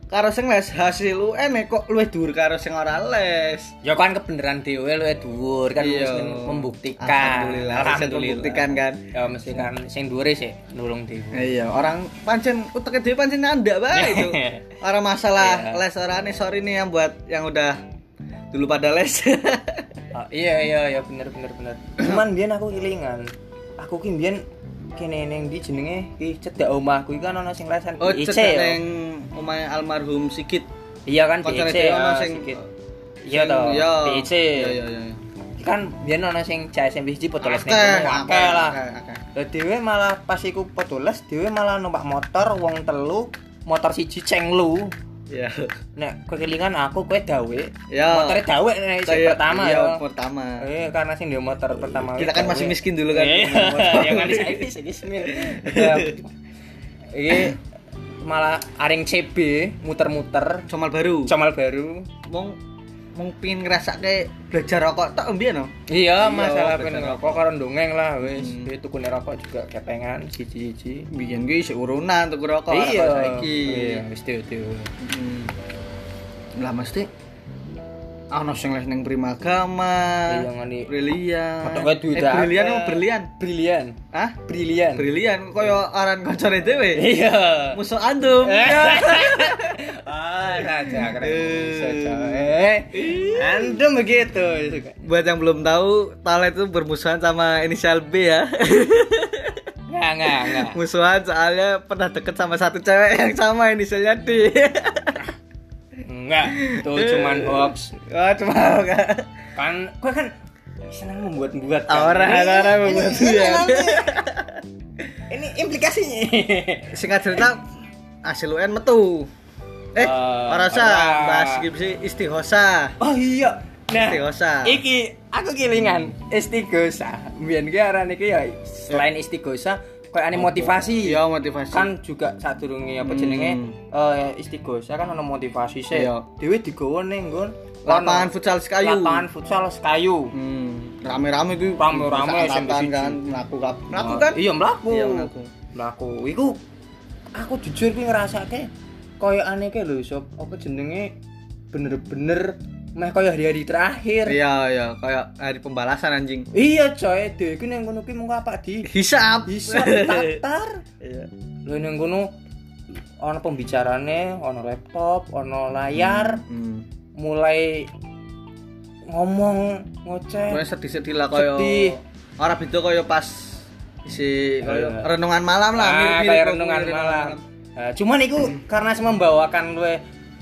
Speaker 1: karo sing les hasil UN -e kok luwih dhuwur karo sing ora les.
Speaker 2: Ya kan kebenaran dhewe lu dhuwur kan
Speaker 1: Iya.
Speaker 2: mesti membuktikan.
Speaker 1: Alhamdulillah, hasil
Speaker 2: Alhamdulillah.
Speaker 1: membuktikan kan.
Speaker 2: Ya mesti kan sing dhuwure sih nulung dhewe.
Speaker 1: Iya, orang pancen utek dhewe pancen nyandak bae itu. Orang masalah
Speaker 2: Iya.
Speaker 1: les ora nih, sorry nih yang buat yang udah dulu pada les. Ah,
Speaker 2: Oh, iya iya iya bener bener bener. Cuman biyen aku ilingan. Aku ki biyen kene ning ndi jenenge ki cedak omahku iki kan ana sing lesan
Speaker 1: oh,
Speaker 2: IC,
Speaker 1: cedak
Speaker 2: ya.
Speaker 1: ning omahe almarhum Sigit.
Speaker 2: Iya kan
Speaker 1: Koncone
Speaker 2: DIC
Speaker 1: dhewe
Speaker 2: ya,
Speaker 1: ono sing
Speaker 2: ah, sikit. Iya toh.
Speaker 1: Iya.
Speaker 2: DIC.
Speaker 1: Iya, iya, iya.
Speaker 2: kan biyen ana sing CSMB siji padha les ning
Speaker 1: Akeh,
Speaker 2: kono,
Speaker 1: akeh,
Speaker 2: akeh lah.
Speaker 1: akeh, akeh.
Speaker 2: Lah dhewe malah pas iku padha les dhewe malah numpak motor wong telu, motor siji cenglu.
Speaker 1: Iya.
Speaker 2: Nek kekilingan aku kowe dawe.
Speaker 1: Ya.
Speaker 2: Motore dawe nek sing
Speaker 1: Saya-
Speaker 2: pertama
Speaker 1: iya,
Speaker 2: ya.
Speaker 1: pertama.
Speaker 2: Eh karena sing dhewe motor pertama.
Speaker 1: Kita kan
Speaker 2: dawe.
Speaker 1: masih miskin dulu kan.
Speaker 2: Iya,
Speaker 1: punya motor. Iya.
Speaker 2: ya kan saiki saiki semin. Ya. Iki Iya. malah aring CB muter-muter
Speaker 1: Comal baru.
Speaker 2: Jamal baru
Speaker 1: Mong mong pingin ngrasake belajar rokok tok mbiyen no.
Speaker 2: Iya,
Speaker 1: Iya,
Speaker 2: masalah
Speaker 1: belajar
Speaker 2: pengen rokok karo dongeng lah wis. Hmm. Itu rokok juga kepengan siji-siji.
Speaker 1: Mbiyen kuwi isih urunan tuku rokok ora
Speaker 2: Iya,
Speaker 1: kok saiki.
Speaker 2: Iya, wis dewe-dewe.
Speaker 1: Hmm. Lah mesti Ono sing les ning Primagama.
Speaker 2: Iya, ngene.
Speaker 1: Brilian.
Speaker 2: Pokoke duit
Speaker 1: Eh,
Speaker 2: akeh.
Speaker 1: brilian apa berlian?
Speaker 2: Brilian.
Speaker 1: Hah?
Speaker 2: Brilian.
Speaker 1: Brilian koyo aran kancane dhewe.
Speaker 2: Iya. Eh,
Speaker 1: Musuh antum.
Speaker 2: Ah, saja keren.
Speaker 1: Eh.
Speaker 2: Bisa, Cok. Eh. Antum begitu suka.
Speaker 1: Buat yang belum tahu, Talet itu bermusuhan sama inisial B ya.
Speaker 2: Enggak, enggak, enggak.
Speaker 1: Musuhan soalnya pernah deket sama satu cewek yang sama inisialnya D.
Speaker 2: Enggak. Itu
Speaker 1: Eh.
Speaker 2: cuman hoax.
Speaker 1: Oh, cuma enggak.
Speaker 2: Kan gue kan senang membuat-buat kan?
Speaker 1: Orang orang membuat ya.
Speaker 2: Ini implikasinya.
Speaker 1: Singkat cerita, hasil UN metu. Eh,
Speaker 2: Eh,
Speaker 1: ora usah
Speaker 2: ora.
Speaker 1: bahas iki sih istihosa.
Speaker 2: Oh iya. Nah,
Speaker 1: Istiqosa.
Speaker 2: iki aku kilingan istigosa. Mbiyen ki aran iki ya selain istigosa koyo ane motivasi.
Speaker 1: Iya, motivasi.
Speaker 2: kan juga sadurunge apa jenenge eh istigosa kan ono motivasi sih.
Speaker 1: Iya.
Speaker 2: Dewi digowo ning nggon
Speaker 1: lapangan
Speaker 2: ono-
Speaker 1: futsal sekayu.
Speaker 2: Lapangan futsal sekayu.
Speaker 1: Hmm, rame-rame itu
Speaker 2: Rame-rame,
Speaker 1: angkatan
Speaker 2: SMP
Speaker 1: kan melaku kap melaku kan
Speaker 2: Iya, mlaku.
Speaker 1: Iya, mlaku.
Speaker 2: Mlaku. Iku aku jujur ki ngrasake koyo ane ki lho sop apa jenenge bener-bener meh koyo hari-hari terakhir.
Speaker 1: iya iya kayak hari pembalasan anjing
Speaker 2: Iya coy, dhewe iki ning kono ki mung apa di
Speaker 1: hisap
Speaker 2: bisa tatar.
Speaker 1: iya
Speaker 2: Lho ning kono ana pembicarane, ana laptop, ana layar,
Speaker 1: hmm.
Speaker 2: mulai ngomong ngoceh.
Speaker 1: Pokoknya sedih-sedih lah kayak
Speaker 2: Sedih.
Speaker 1: orang beda kayak pas si kayak
Speaker 2: Iya.
Speaker 1: renungan malam lah
Speaker 2: Ah,
Speaker 1: mirip-mirip
Speaker 2: kayak
Speaker 1: kok,
Speaker 2: renungan
Speaker 1: mirip
Speaker 2: malam. Nah, cuman itu karena semua membawakan gue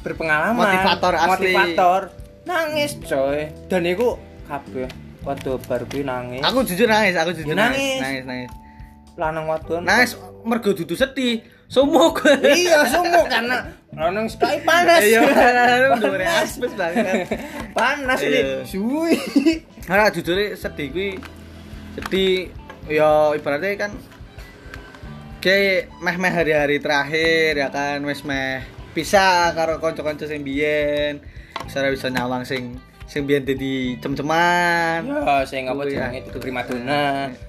Speaker 2: berpengalaman,
Speaker 1: Motivator asli.
Speaker 2: motivator, nangis coy. Dan itu kabeh waktu baru gue nangis.
Speaker 1: aku jujur nangis aku jujur
Speaker 2: Ya, nangis.
Speaker 1: nangis nangis nangis
Speaker 2: Lanang wadon.
Speaker 1: nangis mergo dudu sedih sumuk
Speaker 2: iya, sungguh karena lanang sekali panas.
Speaker 1: iya udah
Speaker 2: panas.
Speaker 1: reas banget
Speaker 2: panas
Speaker 1: Iya.
Speaker 2: nih. Suwi.
Speaker 1: Karena jujur sedih kuwi sedih ya ibaratnya kan kayak meh meh hari-hari terakhir ya kan wis meh pisah karo kanca-kanca sing biyen secara bisa nyawang sing sing biyen dadi cem-ceman
Speaker 2: Ya, saya ngapa
Speaker 1: Kuwi,
Speaker 2: jenenge
Speaker 1: ah.
Speaker 2: itu primadona.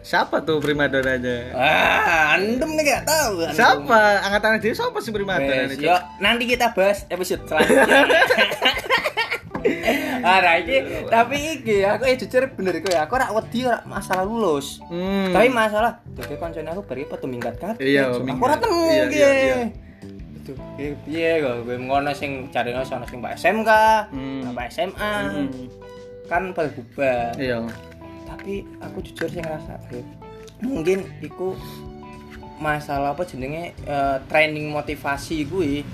Speaker 1: siapa tuh primadonanya
Speaker 2: Ah, andem nih gak tahu. andem.
Speaker 1: siapa angkatan dia siapa sih primadona
Speaker 2: Wes, ya.
Speaker 1: itu
Speaker 2: yuk, nanti kita bahas episode selanjutnya. Ora iki, tapi iki aku eh jujur bener kowe, aku ora wedi ora masalah lulus.
Speaker 1: hmm.
Speaker 2: Tapi masalah dadi kancane aku bari apa minggat kabeh.
Speaker 1: Iya,
Speaker 2: So, aku
Speaker 1: minggat.
Speaker 2: ora temu
Speaker 1: Iya,
Speaker 2: iki.
Speaker 1: iya, iya.
Speaker 2: Itu iki piye kok kowe ngono sing jarene sono sing Mbak SMK,
Speaker 1: Hmm.
Speaker 2: Mbak SMA.
Speaker 1: Hmm.
Speaker 2: Kan pada bubar.
Speaker 1: iya
Speaker 2: Tapi aku jujur sing ngerasa Beb, mungkin iku masalah apa jenenge eh, training motivasi gue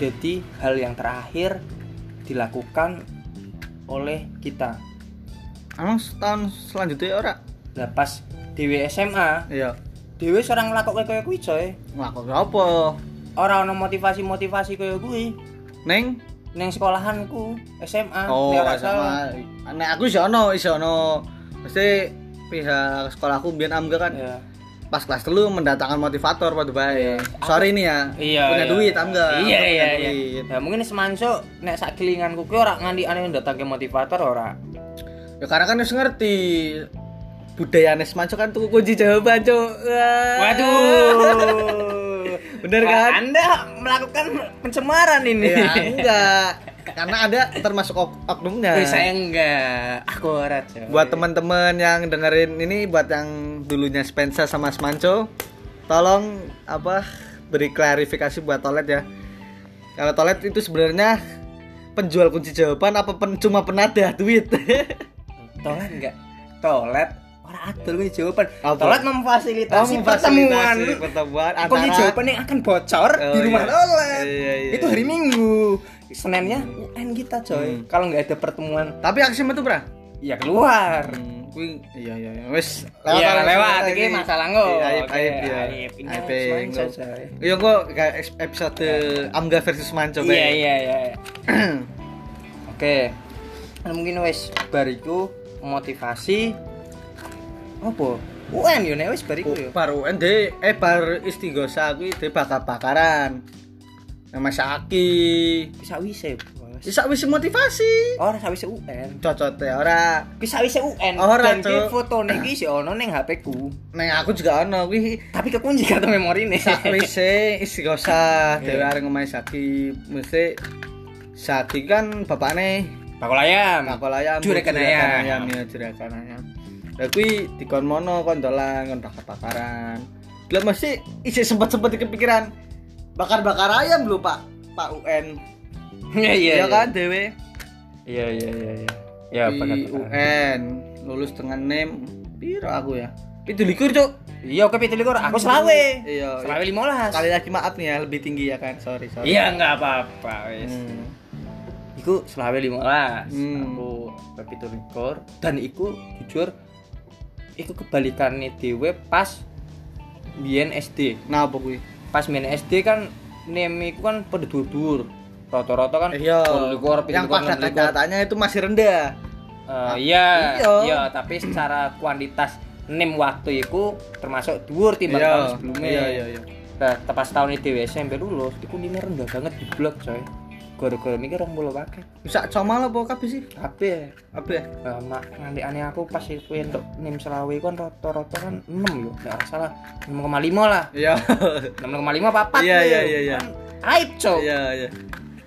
Speaker 2: jadi hal yang terakhir dilakukan oleh kita
Speaker 1: emang tahun selanjutnya ora
Speaker 2: lah pas dewe SMA
Speaker 1: iya
Speaker 2: dewe seorang ngelakok kayak kuwi coy
Speaker 1: ngakok apa
Speaker 2: orang ono motivasi motivasi kayak gue
Speaker 1: neng
Speaker 2: neng sekolahanku SMA
Speaker 1: Oh,
Speaker 2: nek ora salah.
Speaker 1: sama. Nek aku iso ono, iso ono. Mesti pihak sekolahku mbiyen amga kan
Speaker 2: Ya.
Speaker 1: pas kelas telu mendatangkan motivator pada bae. Sorry nih ya.
Speaker 2: iya
Speaker 1: punya
Speaker 2: iya.
Speaker 1: duit amga. Amga
Speaker 2: iya iya
Speaker 1: punya
Speaker 2: iya
Speaker 1: duit.
Speaker 2: Nah, mungkin semanso nek sak kelinganku kuwi ora nganti aneh datang ke motivator ora
Speaker 1: Ya karena kan harus ngerti budaya Nes Manco kan tuku kunci jawaban, Cuk. Wah.
Speaker 2: Waduh.
Speaker 1: Bener kan?
Speaker 2: Anda melakukan pencemaran ini.
Speaker 1: Ya enggak. Karena ada termasuk ok oknumnya.
Speaker 2: Eh, saya enggak. Aku ora, Coy.
Speaker 1: buat teman-teman yang dengerin ini buat yang dulunya Spencer sama Smanco tolong apa beri klarifikasi buat Tolet ya kalau Tolet itu sebenarnya penjual kunci jawaban apa pen- cuma penada duit
Speaker 2: tolet enggak? Tolet ora adol kuwi jawaban.
Speaker 1: Apa?
Speaker 2: Tolet
Speaker 1: Oh,
Speaker 2: memfasilitasi pertemuan.
Speaker 1: memfasilitasi pertemuan
Speaker 2: Aku
Speaker 1: antara
Speaker 2: jawaban yang akan bocor
Speaker 1: Oh,
Speaker 2: di rumah
Speaker 1: iya.
Speaker 2: tolet.
Speaker 1: Iya, iya,
Speaker 2: Itu hari Minggu. Seninnya UN kita,
Speaker 1: Hmm.
Speaker 2: coy. Kalau enggak ada pertemuan,
Speaker 1: tapi aksi metu bra
Speaker 2: ya keluar.
Speaker 1: hmm, kuwi- iya iya iya wis
Speaker 2: Iya,
Speaker 1: lewat,
Speaker 2: lewat. Iki
Speaker 1: ini.
Speaker 2: masalah engko.
Speaker 1: Iya, aib
Speaker 2: Oke,
Speaker 1: aib ya
Speaker 2: aib. Ini
Speaker 1: aib
Speaker 2: Smanco,
Speaker 1: engko.
Speaker 2: coy.
Speaker 1: Iya kok kayak ex- episode Amga versus Manco
Speaker 2: Iya
Speaker 1: bae.
Speaker 2: iya iya. iya. Oke. Nah, mungkin wis bariku motivasi opo? UN yo nek wis bariku
Speaker 1: Iya.
Speaker 2: yo.
Speaker 1: bar UN de eh bar istighosa kuwi de bakar-bakaran. Nama Saki.
Speaker 2: Bisa wise. Bos.
Speaker 1: Isak wis motivasi.
Speaker 2: Ora sawise UN.
Speaker 1: Cocote ora.
Speaker 2: Bisa wise UN.
Speaker 1: Ora,
Speaker 2: Dan ki
Speaker 1: Cuk.
Speaker 2: fotone ki isih ono ning HP ku.
Speaker 1: Neng aku juga ono kuwi
Speaker 2: Tapi kekunci kartu memorine.
Speaker 1: sakwise istighosa
Speaker 2: Iya.
Speaker 1: dhewe areng omahe Saki mesti Saki eh, kan bapakne
Speaker 2: bakul ayam
Speaker 1: Bakul ayam.
Speaker 2: Juragan ayam.
Speaker 1: ayam ya juragan ayam. Lah kuwi dikon mono kon dolan kon bakar-bakaran. Lah mesti isih sempat-sempat kepikiran bakar-bakar ayam lho Pak Pak UN.
Speaker 2: iya iya
Speaker 1: ya kan dewe
Speaker 2: iya iya iya iya ya
Speaker 1: di
Speaker 2: bakar
Speaker 1: UN lulus dengan nem piro aku ya. Itu likur cuk.
Speaker 2: iya oke pitu likur aku selawe
Speaker 1: Iya.
Speaker 2: selawe limolas
Speaker 1: Kali lagi maaf nih ya lebih tinggi ya kan. Sorry, sorry.
Speaker 2: iya nggak apa-apa wes
Speaker 1: Hmm.
Speaker 2: iku selawe limolas
Speaker 1: Hmm.
Speaker 2: aku pitu likur dan iku jujur iku kebalikannya dewe pas biyen SD
Speaker 1: Nah, apa kuwi?
Speaker 2: pas main SD kan name iku kan pada dur-dur rata-rata kan
Speaker 1: Iya.
Speaker 2: likur
Speaker 1: Yang pada kata-katanya itu masih rendah.
Speaker 2: iya
Speaker 1: Iya.
Speaker 2: iya tapi secara kuantitas name waktu itu termasuk dhuwur timbang tahun sebelumnya
Speaker 1: Iya, iya, iya.
Speaker 2: nah tepas tahun itu SMP lulus iku name rendah banget di blok coy gara-gara ini orang mulu pakai
Speaker 1: Bisa coma lah apa kabeh sih?
Speaker 2: tapi
Speaker 1: Apa ya?
Speaker 2: eh, mak nanti aneh aku pas itu untuk name selawe kan rata-rata kan 6 yo nggak salah 6,5 lah
Speaker 1: Iya.
Speaker 2: 6,5 papat
Speaker 1: Iya,
Speaker 2: yo.
Speaker 1: iya, iya, iya.
Speaker 2: Kan aib coy
Speaker 1: Iya, iya.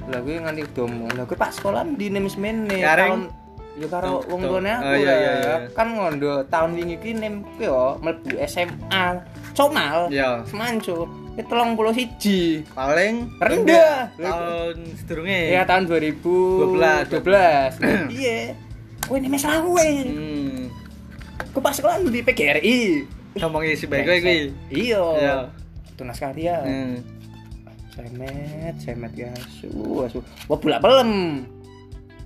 Speaker 2: lah gue nganti domo lah gue pas sekolah di nemis mene
Speaker 1: Kareng.
Speaker 2: tahun ya karo
Speaker 1: Tuh,
Speaker 2: wong
Speaker 1: tuh.
Speaker 2: tuane aku
Speaker 1: Oh, iya,
Speaker 2: lah.
Speaker 1: iya, iya.
Speaker 2: kan ngondo tahun wingi ki nem ku yo mlebu SMA comal
Speaker 1: Iya.
Speaker 2: semanco ki 31
Speaker 1: Paling
Speaker 2: Rendah.
Speaker 1: tahun sedurunge.
Speaker 2: ya tahun 2012 12 iya gue nemis lawe
Speaker 1: Hmm.
Speaker 2: gue pas sekolah di PGRI
Speaker 1: Ngomong isi baik kowe kuwi. Iya.
Speaker 2: iya tunas karya
Speaker 1: Hmm.
Speaker 2: cemet cemet ya asu asu wah bulak pelem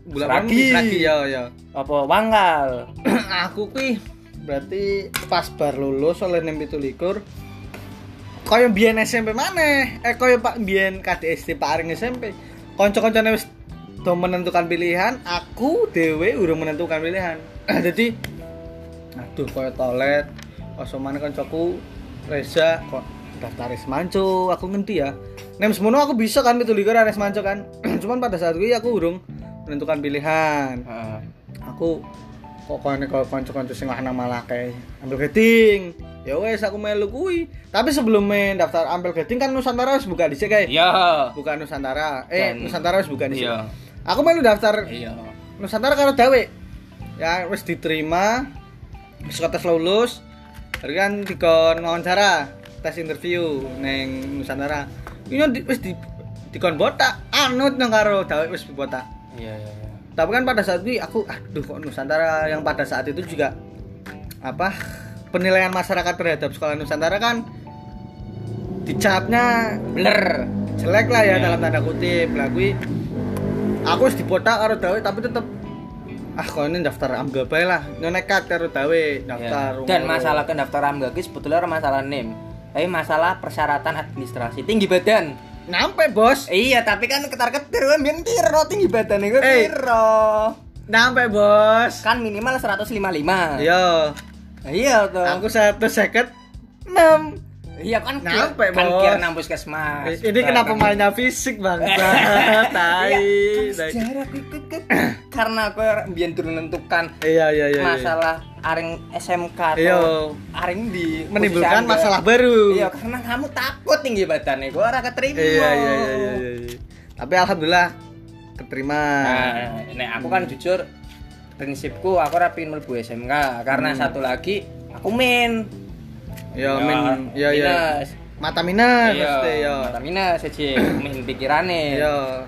Speaker 1: Bulan
Speaker 2: Seragi.
Speaker 1: lagi lagi ya ya.
Speaker 2: apa wangkal
Speaker 1: Aku kuwi berarti pas bar lulus oleh nem 17 kaya biyen SMP maneh eh kaya Pak biyen KDSD Pak Aring SMP kanca-kancane wis do menentukan pilihan aku dhewe urung menentukan pilihan jadi aduh kaya toilet osomane kancaku Reza kok daftar Resmanco aku ngendi ya nem semono aku bisa kan itu likur Resmanco kan cuman pada saat itu aku urung menentukan pilihan
Speaker 2: Heeh.
Speaker 1: aku kok kone kok kanca-kanca sing lanang malah kayak ambil gading ya wes aku melu kuwi tapi sebelum main daftar ambil gading kan Nusantara wis buka dhisik kae
Speaker 2: iya
Speaker 1: buka Nusantara eh
Speaker 2: Dan-
Speaker 1: Nusantara wis buka dhisik
Speaker 2: iya
Speaker 1: aku melu daftar
Speaker 2: iya
Speaker 1: Nusantara karo Dawe ya wis diterima wis tes lulus Hari kan dikon wawancara tes interview neng Nusantara ini di- wis di dikon botak anut nang karo Dawe wis botak
Speaker 2: iya iya iya.
Speaker 1: tapi kan pada saat itu aku aduh kok Nusantara yang pada saat itu juga apa penilaian masyarakat terhadap sekolah Nusantara kan dicapnya
Speaker 2: bener
Speaker 1: jelek lah ya
Speaker 2: Iya.
Speaker 1: dalam tanda kutip lah kui aku harus dipotak karo dawe tapi tetep ah kau ini daftar ambil bae lah Ini nekat karo dawe daftar
Speaker 2: Ya. dan masalah pendaftaran gak guys sebetulnya orang masalah name tapi masalah persyaratan administrasi tinggi badan
Speaker 1: nyampe bos
Speaker 2: iya tapi kan ketar ketir kan biar piro tinggi badan itu
Speaker 1: Eh.
Speaker 2: piro
Speaker 1: nyampe bos
Speaker 2: kan minimal 155
Speaker 1: yo
Speaker 2: iya tuh
Speaker 1: aku satu second enam
Speaker 2: iya kan
Speaker 1: Nyampe,
Speaker 2: kan
Speaker 1: Bos.
Speaker 2: kira nang puskesmas
Speaker 1: ini kenapa mainnya fisik bang tai
Speaker 2: Iya, kan
Speaker 1: tai.
Speaker 2: jarak ikut kan karena aku biar turun menentukan
Speaker 1: Iya iya iya. iya.
Speaker 2: masalah aring SMK
Speaker 1: Iya.
Speaker 2: atau aring di
Speaker 1: menimbulkan
Speaker 2: posisi Anda.
Speaker 1: masalah baru.
Speaker 2: Iya, karena kamu takut tinggi badannya, gue orang keterima.
Speaker 1: Iya iya iya iya. iya, iya. Tapi alhamdulillah keterima.
Speaker 2: Nah, nek aku kan jujur prinsipku aku rapin mlebu SMK
Speaker 1: Hmm.
Speaker 2: karena satu lagi aku min.
Speaker 1: ya men ya ya.
Speaker 2: minus.
Speaker 1: Mata minus
Speaker 2: Iya,
Speaker 1: mesti ya.
Speaker 2: mata minus aja, min pikirane.
Speaker 1: Ya.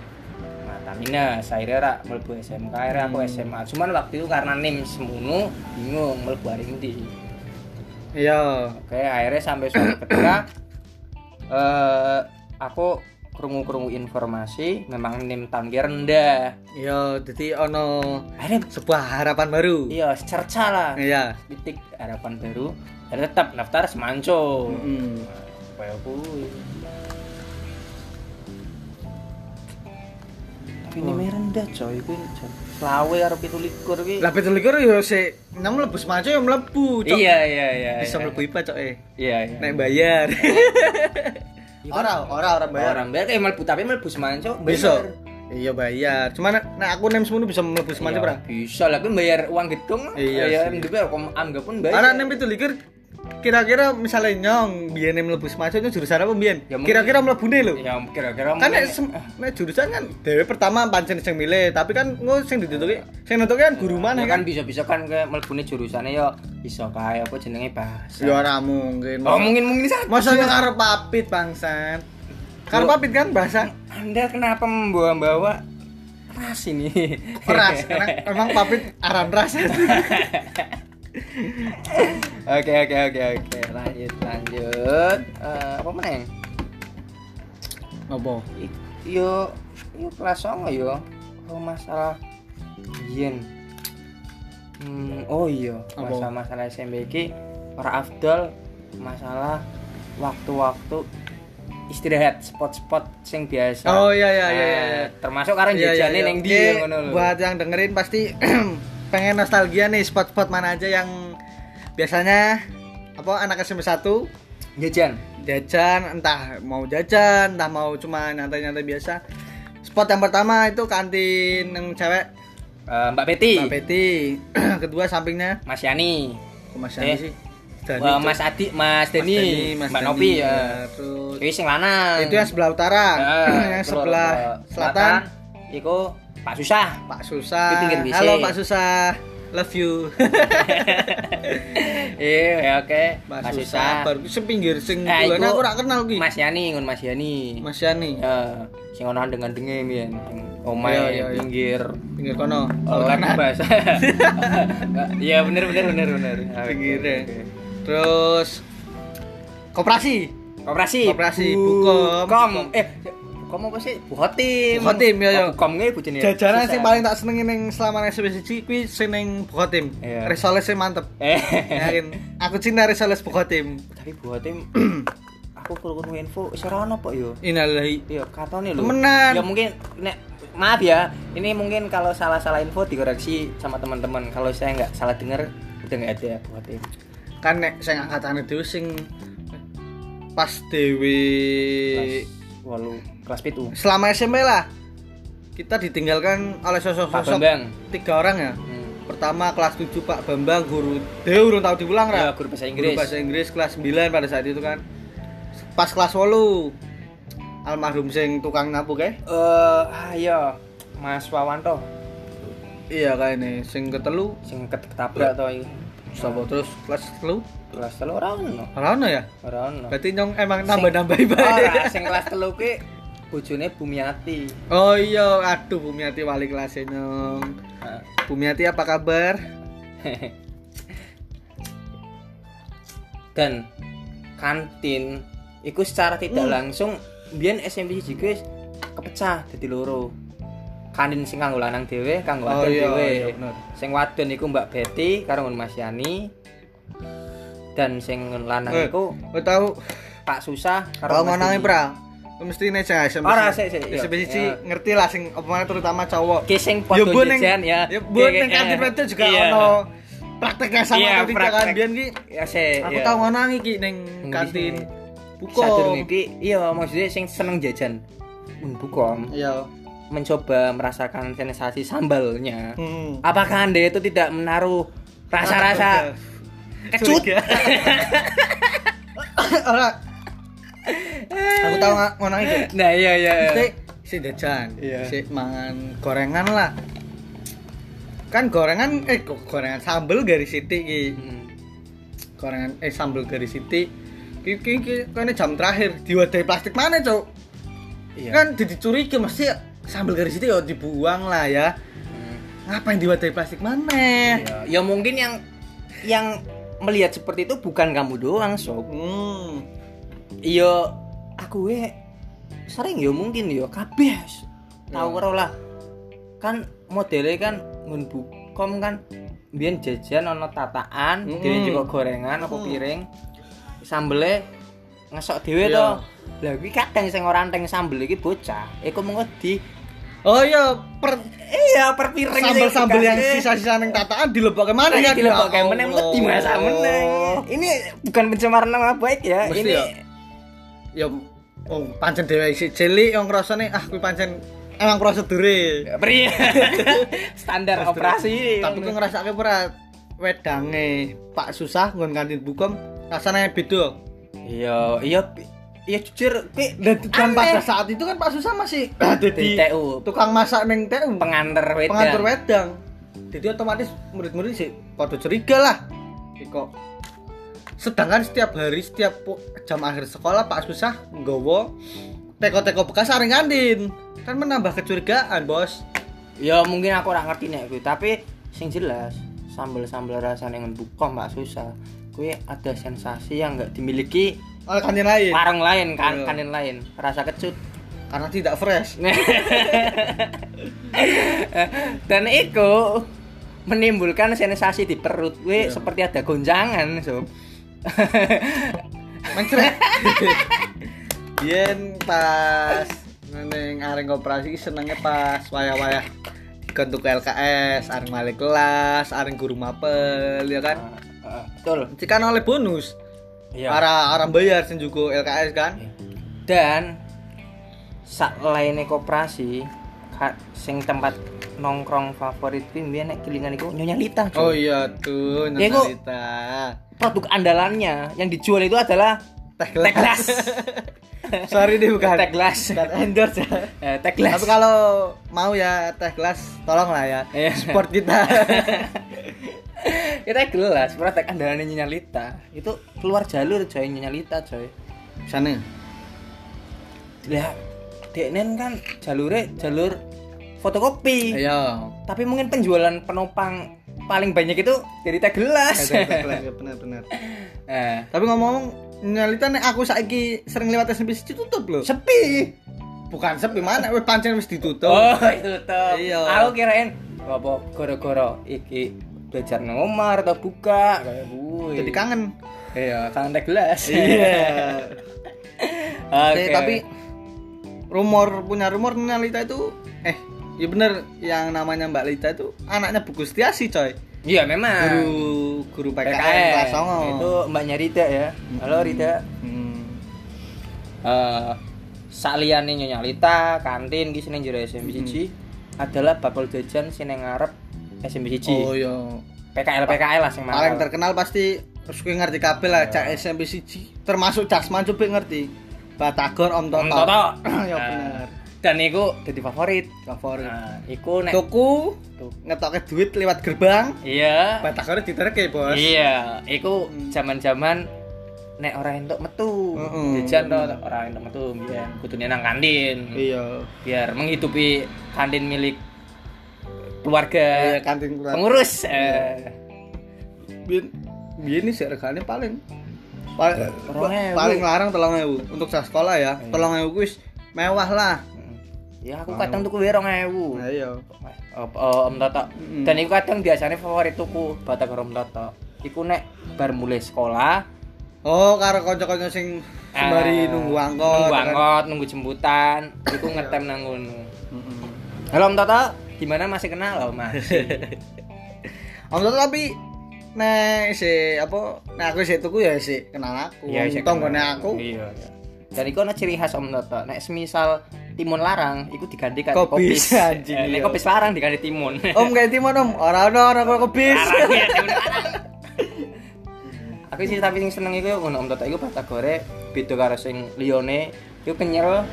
Speaker 2: Mata minus, akhirnya rak mlebu SMK, akhirnya aku
Speaker 1: Hmm.
Speaker 2: SMA. Cuman waktu itu karena nim semono bingung mlebu hari ini.
Speaker 1: Ya.
Speaker 2: Oke, akhirnya sampai suatu ketika eh aku kerungu-kerungu informasi memang nim tahun ki rendah.
Speaker 1: Ya jadi ono
Speaker 2: Akhirnya
Speaker 1: sebuah harapan baru.
Speaker 2: iya cerca lah.
Speaker 1: Iya.
Speaker 2: titik harapan baru dan tetap daftar semanco
Speaker 1: Mm.
Speaker 2: supaya aku tapi ini meh rendah coy gue selawe karo pitu likur gue
Speaker 1: Lah betul iku yo sik nang mlebu semaco yo mlebu cok.
Speaker 2: iya iya iya
Speaker 1: Bisa
Speaker 2: iya.
Speaker 1: mlebu IPA cok eh.
Speaker 2: iya iya
Speaker 1: Nek bayar. Ora ora ora bayar.
Speaker 2: orang bayar eh mlebu tapi mlebu semanco
Speaker 1: Bisa.
Speaker 2: bayar.
Speaker 1: Iya bayar. Cuman nek aku nem semono bisa mlebu semanco
Speaker 2: Iya,
Speaker 1: ora?
Speaker 2: bisa lah gue bayar uang gedung
Speaker 1: Iya
Speaker 2: iya
Speaker 1: sih.
Speaker 2: juga aku anggap pun bayar
Speaker 1: Anak nem itu likur kira-kira misalnya nyong biyen mlebu semaco itu jurusan apa biyen?
Speaker 2: Ya, mungkin-
Speaker 1: Kira-kira mlebune lho.
Speaker 2: ya kira-kira
Speaker 1: Kan nek
Speaker 2: mungkin-
Speaker 1: sem- nek jurusan kan dhewe pertama pancen sing milih, tapi kan ngono sing ditutuki, sing nutuki kan guru
Speaker 2: ya
Speaker 1: maneh kan.
Speaker 2: kan bisa-bisa kan ke melbune jurusannya ya bisa kae apa jenenge bahasa
Speaker 1: Ya ora mungkin.
Speaker 2: oh mungkin mungkin saja
Speaker 1: Masa ya? yang karep papit bangsan. Karep papit kan bahasa
Speaker 2: anda kenapa membawa-bawa ras ini
Speaker 1: ras. Karena emang papit aran ras.
Speaker 2: oke oke oke oke lanjut lanjut Eh, apa meneng
Speaker 1: Apa?
Speaker 2: I- yo yo kelas songo yo oh, masalah yen hmm, oh iya
Speaker 1: Apa?
Speaker 2: masalah masalah SMP iki ora afdol masalah waktu-waktu istirahat spot-spot sing biasa
Speaker 1: Oh, iya, iya, iya,
Speaker 2: Nah,
Speaker 1: iya.
Speaker 2: termasuk karena jajane ning ndi
Speaker 1: Oke,
Speaker 2: ya ngono lho
Speaker 1: Buat yang dengerin pasti pengen nostalgia nih spot-spot mana aja yang biasanya apa anak SMP 1
Speaker 2: jajan
Speaker 1: jajan entah mau jajan entah mau cuma nyantai-nyantai biasa spot yang pertama itu kantin yang cewek
Speaker 2: Eh, Mbak Peti
Speaker 1: Mbak Betty kedua sampingnya
Speaker 2: Mas Yani
Speaker 1: kok Mas Dani
Speaker 2: Eh,
Speaker 1: sih Dani
Speaker 2: Wah,
Speaker 1: tuh.
Speaker 2: Mas Adi Mas Deni
Speaker 1: Mas
Speaker 2: Mbak
Speaker 1: Dani,
Speaker 2: Nopi ya
Speaker 1: ya, terus
Speaker 2: Iki sing lanang
Speaker 1: itu yang sebelah utara
Speaker 2: Eh,
Speaker 1: yang
Speaker 2: keluar
Speaker 1: sebelah
Speaker 2: ke
Speaker 1: selatan
Speaker 2: iku Pak Susah
Speaker 1: Pak
Speaker 2: Di
Speaker 1: Susah
Speaker 2: pinggir WC.
Speaker 1: halo Pak Susah love you
Speaker 2: iya ya oke
Speaker 1: Pak Susah baru sing pinggir sing
Speaker 2: Eh,
Speaker 1: kulone
Speaker 2: iku-
Speaker 1: aku ora kenal ki
Speaker 2: Mas Yani ngon Mas Yani
Speaker 1: Mas Yani
Speaker 2: ya sing ono dengan denge mien omae
Speaker 1: Iya, iya, Oh, kan. iya.
Speaker 2: pinggir
Speaker 1: pinggir kono
Speaker 2: lab bahasa iya bener bener bener bener Ah,
Speaker 1: pinggirnya terus koperasi
Speaker 2: koperasi
Speaker 1: Koperasi, Bukom.
Speaker 2: bukom kom eh bukom apa sih buhotim
Speaker 1: Buhotim, iya, iya.
Speaker 2: Oh, bukom gue bujine
Speaker 1: jajanan
Speaker 2: Susah.
Speaker 1: sing paling tak senengin ning selama SMP siji kuwi sing ning Bokotim.
Speaker 2: Iya.
Speaker 1: Risole sing mantep.
Speaker 2: eh
Speaker 1: Yakin. Aku cinta risoles Bokotim.
Speaker 2: tapi buhotim aku kurang info serana apa yo
Speaker 1: Innalillahi.
Speaker 2: Iya, katone lho.
Speaker 1: Temenan.
Speaker 2: Ya mungkin nek maaf ya, ini mungkin kalau salah-salah info dikoreksi sama teman-teman. Kalau saya nggak salah dengar udah nggak ada buat ini.
Speaker 1: Kan nek sing angkatane dhewe sing pas dewe
Speaker 2: Kelas walu kelas pitu.
Speaker 1: selama SMP lah kita ditinggalkan oleh
Speaker 2: Pak
Speaker 1: sosok-sosok
Speaker 2: Bambang.
Speaker 1: tiga orang ya
Speaker 2: Hmm.
Speaker 1: pertama kelas 7 Pak Bambang guru dia urung tahu diulang
Speaker 2: Ya,
Speaker 1: ra
Speaker 2: guru bahasa
Speaker 1: Iya, Guru
Speaker 2: Inggris.
Speaker 1: bahasa Inggris kelas 9 pada saat itu kan pas kelas 8 almarhum sing tukang napu kae
Speaker 2: Eh, ayo Mas Wawanto
Speaker 1: iya kae ne sing ketelu
Speaker 2: sing ket-
Speaker 1: Iya.
Speaker 2: ketabrak to iki.
Speaker 1: sapa terus kelas telu
Speaker 2: Kelas telu ora ono.
Speaker 1: ora ono ya
Speaker 2: Ora ono.
Speaker 1: berarti nyong emang nambah-nambah bae
Speaker 2: Ora sing kelas telu ki bojone Bumiati.
Speaker 1: oh iya aduh Bumiati wali kelasnya nyong Bumiati apa kabar
Speaker 2: dan kantin itu secara
Speaker 1: Hmm.
Speaker 2: tidak langsung biyen SMP siji kuwi kepecah dadi loro kantin sing kanggo lanang dhewe kanggo
Speaker 1: Oh,
Speaker 2: wadon
Speaker 1: iya,
Speaker 2: dhewe
Speaker 1: iya, bener.
Speaker 2: sing wadon iku Mbak Betty karo Mas Yani dan sing lanang
Speaker 1: Eh.
Speaker 2: Nah, iku
Speaker 1: kowe tau
Speaker 2: Pak Susah
Speaker 1: Kalau
Speaker 2: Mas
Speaker 1: mau nangis
Speaker 2: Didi.
Speaker 1: pra, mesti nih cah SMP.
Speaker 2: Ora, sik, sik, iya.
Speaker 1: SMP siji
Speaker 2: Iya.
Speaker 1: ngerti lah sing omongan terutama cowok.
Speaker 2: Ki sing padha
Speaker 1: bu, neng-
Speaker 2: jajan ya.
Speaker 1: Ya bu
Speaker 2: Ki-
Speaker 1: ning kantin
Speaker 2: eh,
Speaker 1: itu juga
Speaker 2: iya.
Speaker 1: ono prakteknya sama
Speaker 2: Iya,
Speaker 1: tapi jangan
Speaker 2: praktek.
Speaker 1: biyen ki.
Speaker 2: Ya sik.
Speaker 1: Aku
Speaker 2: iya.
Speaker 1: tau ngono iki ning kantin Bukom.
Speaker 2: sadurunge iki iya maksudnya sing seneng jajan Un bukom
Speaker 1: Iya.
Speaker 2: mencoba merasakan sensasi sambalnya
Speaker 1: Hmm.
Speaker 2: apakah anda itu tidak menaruh Ah, rasa-rasa kecut
Speaker 1: Curiga. Ora. Aku tau nga- ngono iki.
Speaker 2: nah iya iya
Speaker 1: Sik sik jajan.
Speaker 2: Iya.
Speaker 1: Sik mangan gorengan lah. Kan gorengan eh kok gorengan sambel garis sithik iki.
Speaker 2: Hmm.
Speaker 1: gorengan eh sambal garis city ki ki ki kene jam terakhir diwadahi plastik mana cok
Speaker 2: iya
Speaker 1: kan jadi curiga mesti sambal garis city ya dibuang lah ya
Speaker 2: Hmm.
Speaker 1: ngapain diwadahi plastik mana
Speaker 2: Iya. ya mungkin yang yang melihat seperti itu bukan kamu doang sob
Speaker 1: hmm
Speaker 2: iya aku we sering ya mungkin ya kabeh tahu
Speaker 1: Hmm.
Speaker 2: ora lah kan modelnya kan ngun bukom kan biyen jajan ono tataan
Speaker 1: Mm-mm.
Speaker 2: dhewe juga gorengan apa
Speaker 1: Mm.
Speaker 2: piring sambele ngesok dhewe
Speaker 1: Iya.
Speaker 2: to lha kuwi kadang sing ora enteng sambel iki bocah iku mengko di
Speaker 1: oh iya per
Speaker 2: iya per piring
Speaker 1: sambal sambal yang
Speaker 2: sisa
Speaker 1: sisa-sisa neng tataan dilebok ke mana
Speaker 2: ini
Speaker 1: kan
Speaker 2: dilebokake
Speaker 1: Ya
Speaker 2: meneng
Speaker 1: Allah.
Speaker 2: Iya, mesti masak meneng ini bukan pencemaran nama baik ya
Speaker 1: Mesti
Speaker 2: ini
Speaker 1: ya. ya oh pancen dhewe isi cilik yang ngrasane ah kuwi pancen emang prosedure
Speaker 2: Pri. standar
Speaker 1: Prosedur.
Speaker 2: operasi
Speaker 1: tapi aku ngerasa berat wedange Pak Susah nggon kantin Bukom rasanya beda
Speaker 2: iya iya pi- iya jujur pi
Speaker 1: dan
Speaker 2: aneh.
Speaker 1: pada saat itu kan Pak Susa masih
Speaker 2: di
Speaker 1: dadi
Speaker 2: TU
Speaker 1: tukang masak neng TU
Speaker 2: pengantar wedang
Speaker 1: pengantar wedang jadi otomatis murid-murid sih pada curiga lah Iki kok sedangkan setiap hari setiap pu- jam akhir sekolah Pak Susah nggowo teko-teko bekas saring kantin kan menambah kecurigaan bos
Speaker 2: ya mungkin aku ora ngerti nek kuwi tapi sing jelas sambel-sambel rasane ngembuka mbak susah kuwi ada sensasi yang nggak dimiliki
Speaker 1: oleh kantin lain
Speaker 2: warung lain kan
Speaker 1: Iya.
Speaker 2: kanin lain rasa kecut
Speaker 1: karena tidak fresh
Speaker 2: dan itu menimbulkan sensasi di perut kuwi seperti ada goncangan sob
Speaker 1: mencret Yen pas neng areng koperasi senengnya pas wayah-wayah dikontuk LKS, areng malik kelas, areng guru mapel, ya kan?
Speaker 2: Heeh, betul
Speaker 1: Iki kan oleh bonus.
Speaker 2: Iya.
Speaker 1: Para orang bayar sing juga LKS kan.
Speaker 2: dan sak lainnya koperasi ka- sing tempat nongkrong favorit kuwi mbiyen nek kelingan iku Nyonya Lita Cuk.
Speaker 1: Oh iya tuh,
Speaker 2: Ya, kok-
Speaker 1: cerita.
Speaker 2: produk andalannya yang dijual itu adalah
Speaker 1: Teh
Speaker 2: teh gelas
Speaker 1: Sorry deh bukan.
Speaker 2: teh gelas
Speaker 1: Bukan endorse ya.
Speaker 2: Eh, teh gelas
Speaker 1: Tapi kalau mau ya teh gelas, tolonglah ya.
Speaker 2: Iya.
Speaker 1: Support kita.
Speaker 2: ya teh gelas produk andalannya Nyonya Lita itu keluar jalur coy Nyonya Lita coy
Speaker 1: Sana.
Speaker 2: ya Deknen kan jalurnya jalur fotokopi
Speaker 1: Ayo.
Speaker 2: tapi mungkin penjualan penopang paling banyak itu dari teh gelas
Speaker 1: Benar-benar.
Speaker 2: Eh,
Speaker 1: Tapi ngomong-ngomong nyalita nek aku saiki sering lewat SMP siji tutup lho.
Speaker 2: sepi
Speaker 1: Bukan sepi mana wis pancen wis ditutup.
Speaker 2: Oh, itu tuh.
Speaker 1: Iya.
Speaker 2: Aku kirain apa gara-gara iki belajar nang omah atau buka kayak gue.
Speaker 1: Jadi kangen.
Speaker 2: Iya, tangan teh gelas. Oke.
Speaker 1: Eh, tapi rumor punya rumor nyalita itu eh ya bener yang namanya Mbak Lita itu anaknya Bu Gustiasi coy.
Speaker 2: iya memang.
Speaker 1: Ah. Guru guru PKN, kelas songo.
Speaker 2: Itu mbaknya Rita ya. Halo Rita.
Speaker 1: Hmm.
Speaker 2: Eh, saliyane Nyonya Lita, kantin iki sing jero SMBC
Speaker 1: Mm-hmm.
Speaker 2: adalah bakul jajan sing nang ngarep SMBC.
Speaker 1: Oh iya.
Speaker 2: PKL PKL lah sing
Speaker 1: Paling
Speaker 2: mahal.
Speaker 1: terkenal pasti terus kuwi ngerti kabeh lah cak SMP siji termasuk Jasman coba ngerti. Batagor Om Toto.
Speaker 2: Om Toto.
Speaker 1: ya
Speaker 2: Eh,
Speaker 1: bener.
Speaker 2: Dan iku jadi favorit.
Speaker 1: Favorit.
Speaker 2: Nah, iku nek
Speaker 1: tuku
Speaker 2: Tuh.
Speaker 1: ngetoke duit lewat gerbang
Speaker 2: Iya.
Speaker 1: batagornya diterke bos
Speaker 2: Iya, iku
Speaker 1: Hmm.
Speaker 2: zaman-zaman nek ora entuk metu.
Speaker 1: Mm-mm.
Speaker 2: Jajan to ora entuk metu biyen kudune nang kantin.
Speaker 1: iya
Speaker 2: Biar menghidupi kantin milik keluarga
Speaker 1: iya kantin kurang
Speaker 2: Eh, pengurus. Eh,
Speaker 1: bin bin ini sih regane paling paling,
Speaker 2: Orang ewu.
Speaker 1: paling larang tolong ewu untuk sah sekolah ya
Speaker 2: Iya.
Speaker 1: tolong ewu kuis mewah lah
Speaker 2: Ya aku kadang tuku wae 2000.
Speaker 1: iya
Speaker 2: Oh, oh, Om Toto.
Speaker 1: Mm-mm.
Speaker 2: Dan iku kadang biasanya favorit tuku Batagor Om Toto. Iku nek bar mulai sekolah,
Speaker 1: oh karo kanca-kanca sing sembari
Speaker 2: eh,
Speaker 1: nunggu angkot
Speaker 2: nunggu
Speaker 1: kan.
Speaker 2: angkot, nunggu jemputan, iku ngetem nang ngono.
Speaker 1: Mm-mm.
Speaker 2: Halo Om Toto, gimana masih kenal loh Mas?
Speaker 1: Om Toto tapi nek si apa nek aku sih tuku ya sih kenal aku
Speaker 2: saya
Speaker 1: Wong tonggone
Speaker 2: Iya, kenal.
Speaker 1: aku
Speaker 2: Iya. iya. Dan iku ana ciri khas Om Toto. Nek semisal timun larang iku diganti karo
Speaker 1: Kopis,
Speaker 2: kopis.
Speaker 1: anjing,
Speaker 2: Eh, Nek
Speaker 1: iya.
Speaker 2: kopis larang diganti timun.
Speaker 1: Om kayak timon om, orang-orang orang kebis.
Speaker 2: Larang, iya, timun larang. Aku sih tapi sing seneng iku ngono Om Toto iku batagore beda karo sing liyane iku kenyel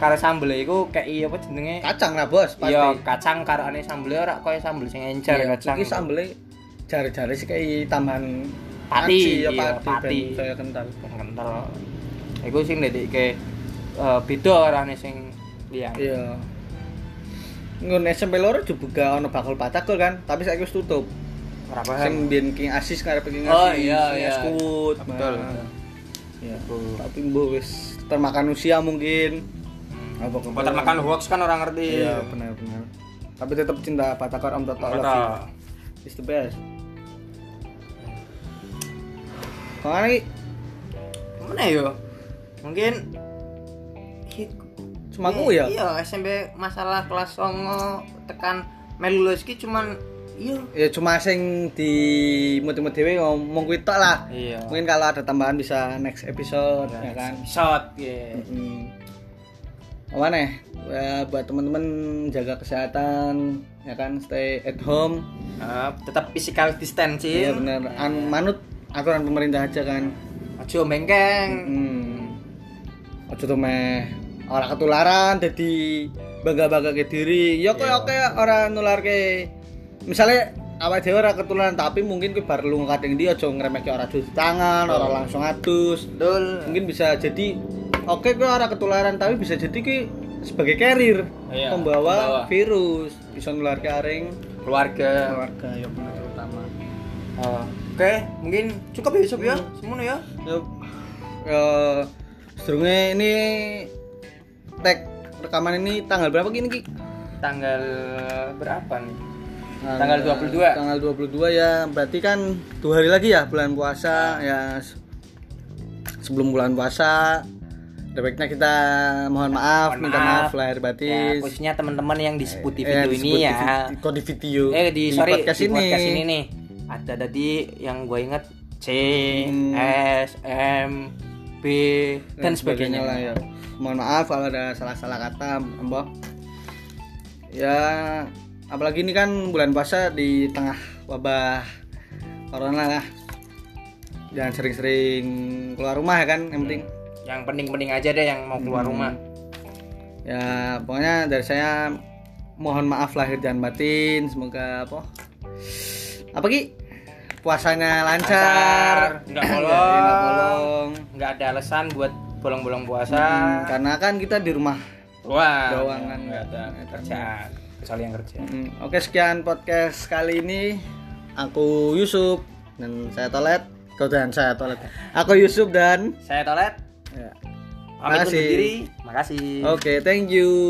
Speaker 2: karo sambel iku kayak iya apa jenenge?
Speaker 1: Kacang lah bos, pasti.
Speaker 2: Iya, kacang karo ane sambel ora koyo sambel sing encer
Speaker 1: Iya,
Speaker 2: kacang.
Speaker 1: Iki sambelnya jari-jari sih kayak tambahan
Speaker 2: Pati,
Speaker 1: aci, ya,
Speaker 2: iya,
Speaker 1: pati,
Speaker 2: pati.
Speaker 1: ben Saya kental.
Speaker 2: kental. Iku sing ndadikke eh beda arane sing liyane.
Speaker 1: Iya. Ngun SMP loro juga ono bakul batagor kan, tapi saya wis tutup.
Speaker 2: Ora paham.
Speaker 1: Sing biyen King Asis karep King Asis.
Speaker 2: Oh, iya, iya.
Speaker 1: Skut.
Speaker 2: Betul.
Speaker 1: Ya, tapi mbok wis termakan usia mungkin. Apa
Speaker 2: Buat termakan hoax kan orang ngerti.
Speaker 1: Iya, benar-benar. Tapi tetap cinta batagor Om Toto. I love you.
Speaker 2: Kata
Speaker 1: It's the best. Kemarin ini
Speaker 2: mana yo? Mungkin
Speaker 1: cuma aku ya.
Speaker 2: Iya, SMP masalah kelas songo tekan melu lulus ki cuman iya.
Speaker 1: Ya cuma sing di mutu dhewe ngomong kuwi tok lah.
Speaker 2: Iya.
Speaker 1: Mungkin kalau ada tambahan bisa next episode ya kan.
Speaker 2: Shot ya.
Speaker 1: Hmm. Apa nih? Ya, buat teman-teman jaga kesehatan ya kan stay at home.
Speaker 2: tetap physical
Speaker 1: Iya
Speaker 2: distancing.
Speaker 1: benar. An- manut aturan pemerintah aja kan.
Speaker 2: Aja mengkeng.
Speaker 1: hmm. ojo tuh meh orang ketularan jadi bangga bangga ke diri ya kok
Speaker 2: Iya.
Speaker 1: oke orang nular ke misalnya awal dhewe ora ketularan tapi mungkin kowe bar lunga kadang dia ojo ngremehke ora cuci tangan
Speaker 2: Oh.
Speaker 1: ora langsung atus
Speaker 2: Dul.
Speaker 1: mungkin bisa jadi oke kowe ora ketularan tapi bisa jadi ki sebagai carrier
Speaker 2: Iya,
Speaker 1: pembawa
Speaker 2: pembawa.
Speaker 1: virus bisa nular ke aring
Speaker 2: Keluarga.
Speaker 1: keluarga ya bener terutama
Speaker 2: Oh. Oke, mungkin cukup ya Yusuf ya. Semono ya.
Speaker 1: ya eh, sedurunge ini tag rekaman ini tanggal berapa gini ki
Speaker 2: Tanggal berapa nih? Tanggal 22.
Speaker 1: Eh, tanggal 22 ya berarti kan dua hari lagi ya bulan puasa ya se- sebelum bulan puasa ada baiknya kita mohon maaf,
Speaker 2: Mohon
Speaker 1: minta
Speaker 2: maaf.
Speaker 1: maaf lahir
Speaker 2: Ya,
Speaker 1: batin
Speaker 2: khususnya teman-teman yang disebut
Speaker 1: Eh,
Speaker 2: di video
Speaker 1: disebut
Speaker 2: ini
Speaker 1: di
Speaker 2: ya.
Speaker 1: vid- kok Gitu. di video
Speaker 2: Eh di, sorry
Speaker 1: podcast
Speaker 2: di
Speaker 1: ini,
Speaker 2: podcast ini nih ada tadi yang gue inget C,
Speaker 1: Hmm.
Speaker 2: S, M, B dan sebagainya
Speaker 1: lah ya mohon maaf kalau ada salah-salah kata mbak ya apalagi ini kan bulan puasa di tengah wabah corona lah jangan sering-sering keluar rumah ya kan yang penting
Speaker 2: Yang penting-penting aja deh yang mau
Speaker 1: Hmm.
Speaker 2: keluar rumah.
Speaker 1: ya pokoknya dari saya mohon maaf lahir dan batin semoga apa apa ki puasanya lancar
Speaker 2: Lancar, nggak
Speaker 1: Nggak- nggak
Speaker 2: bolong.
Speaker 1: bolong.
Speaker 2: Nggak ada alasan buat bolong-bolong puasa.
Speaker 1: Hmm, karena kan kita di rumah
Speaker 2: Wah,
Speaker 1: Doang kan.
Speaker 2: nggak ada kerjaan. Kecuali yang kerja.
Speaker 1: Mm, Oke sekian podcast kali ini Aku Yusuf Dan saya Tolet Kau dan saya Tolet Aku Yusuf dan
Speaker 2: Saya toilet.
Speaker 1: Ya.
Speaker 2: Pamit undur
Speaker 1: Makasih.
Speaker 2: diri. Makasih.
Speaker 1: Oke thank you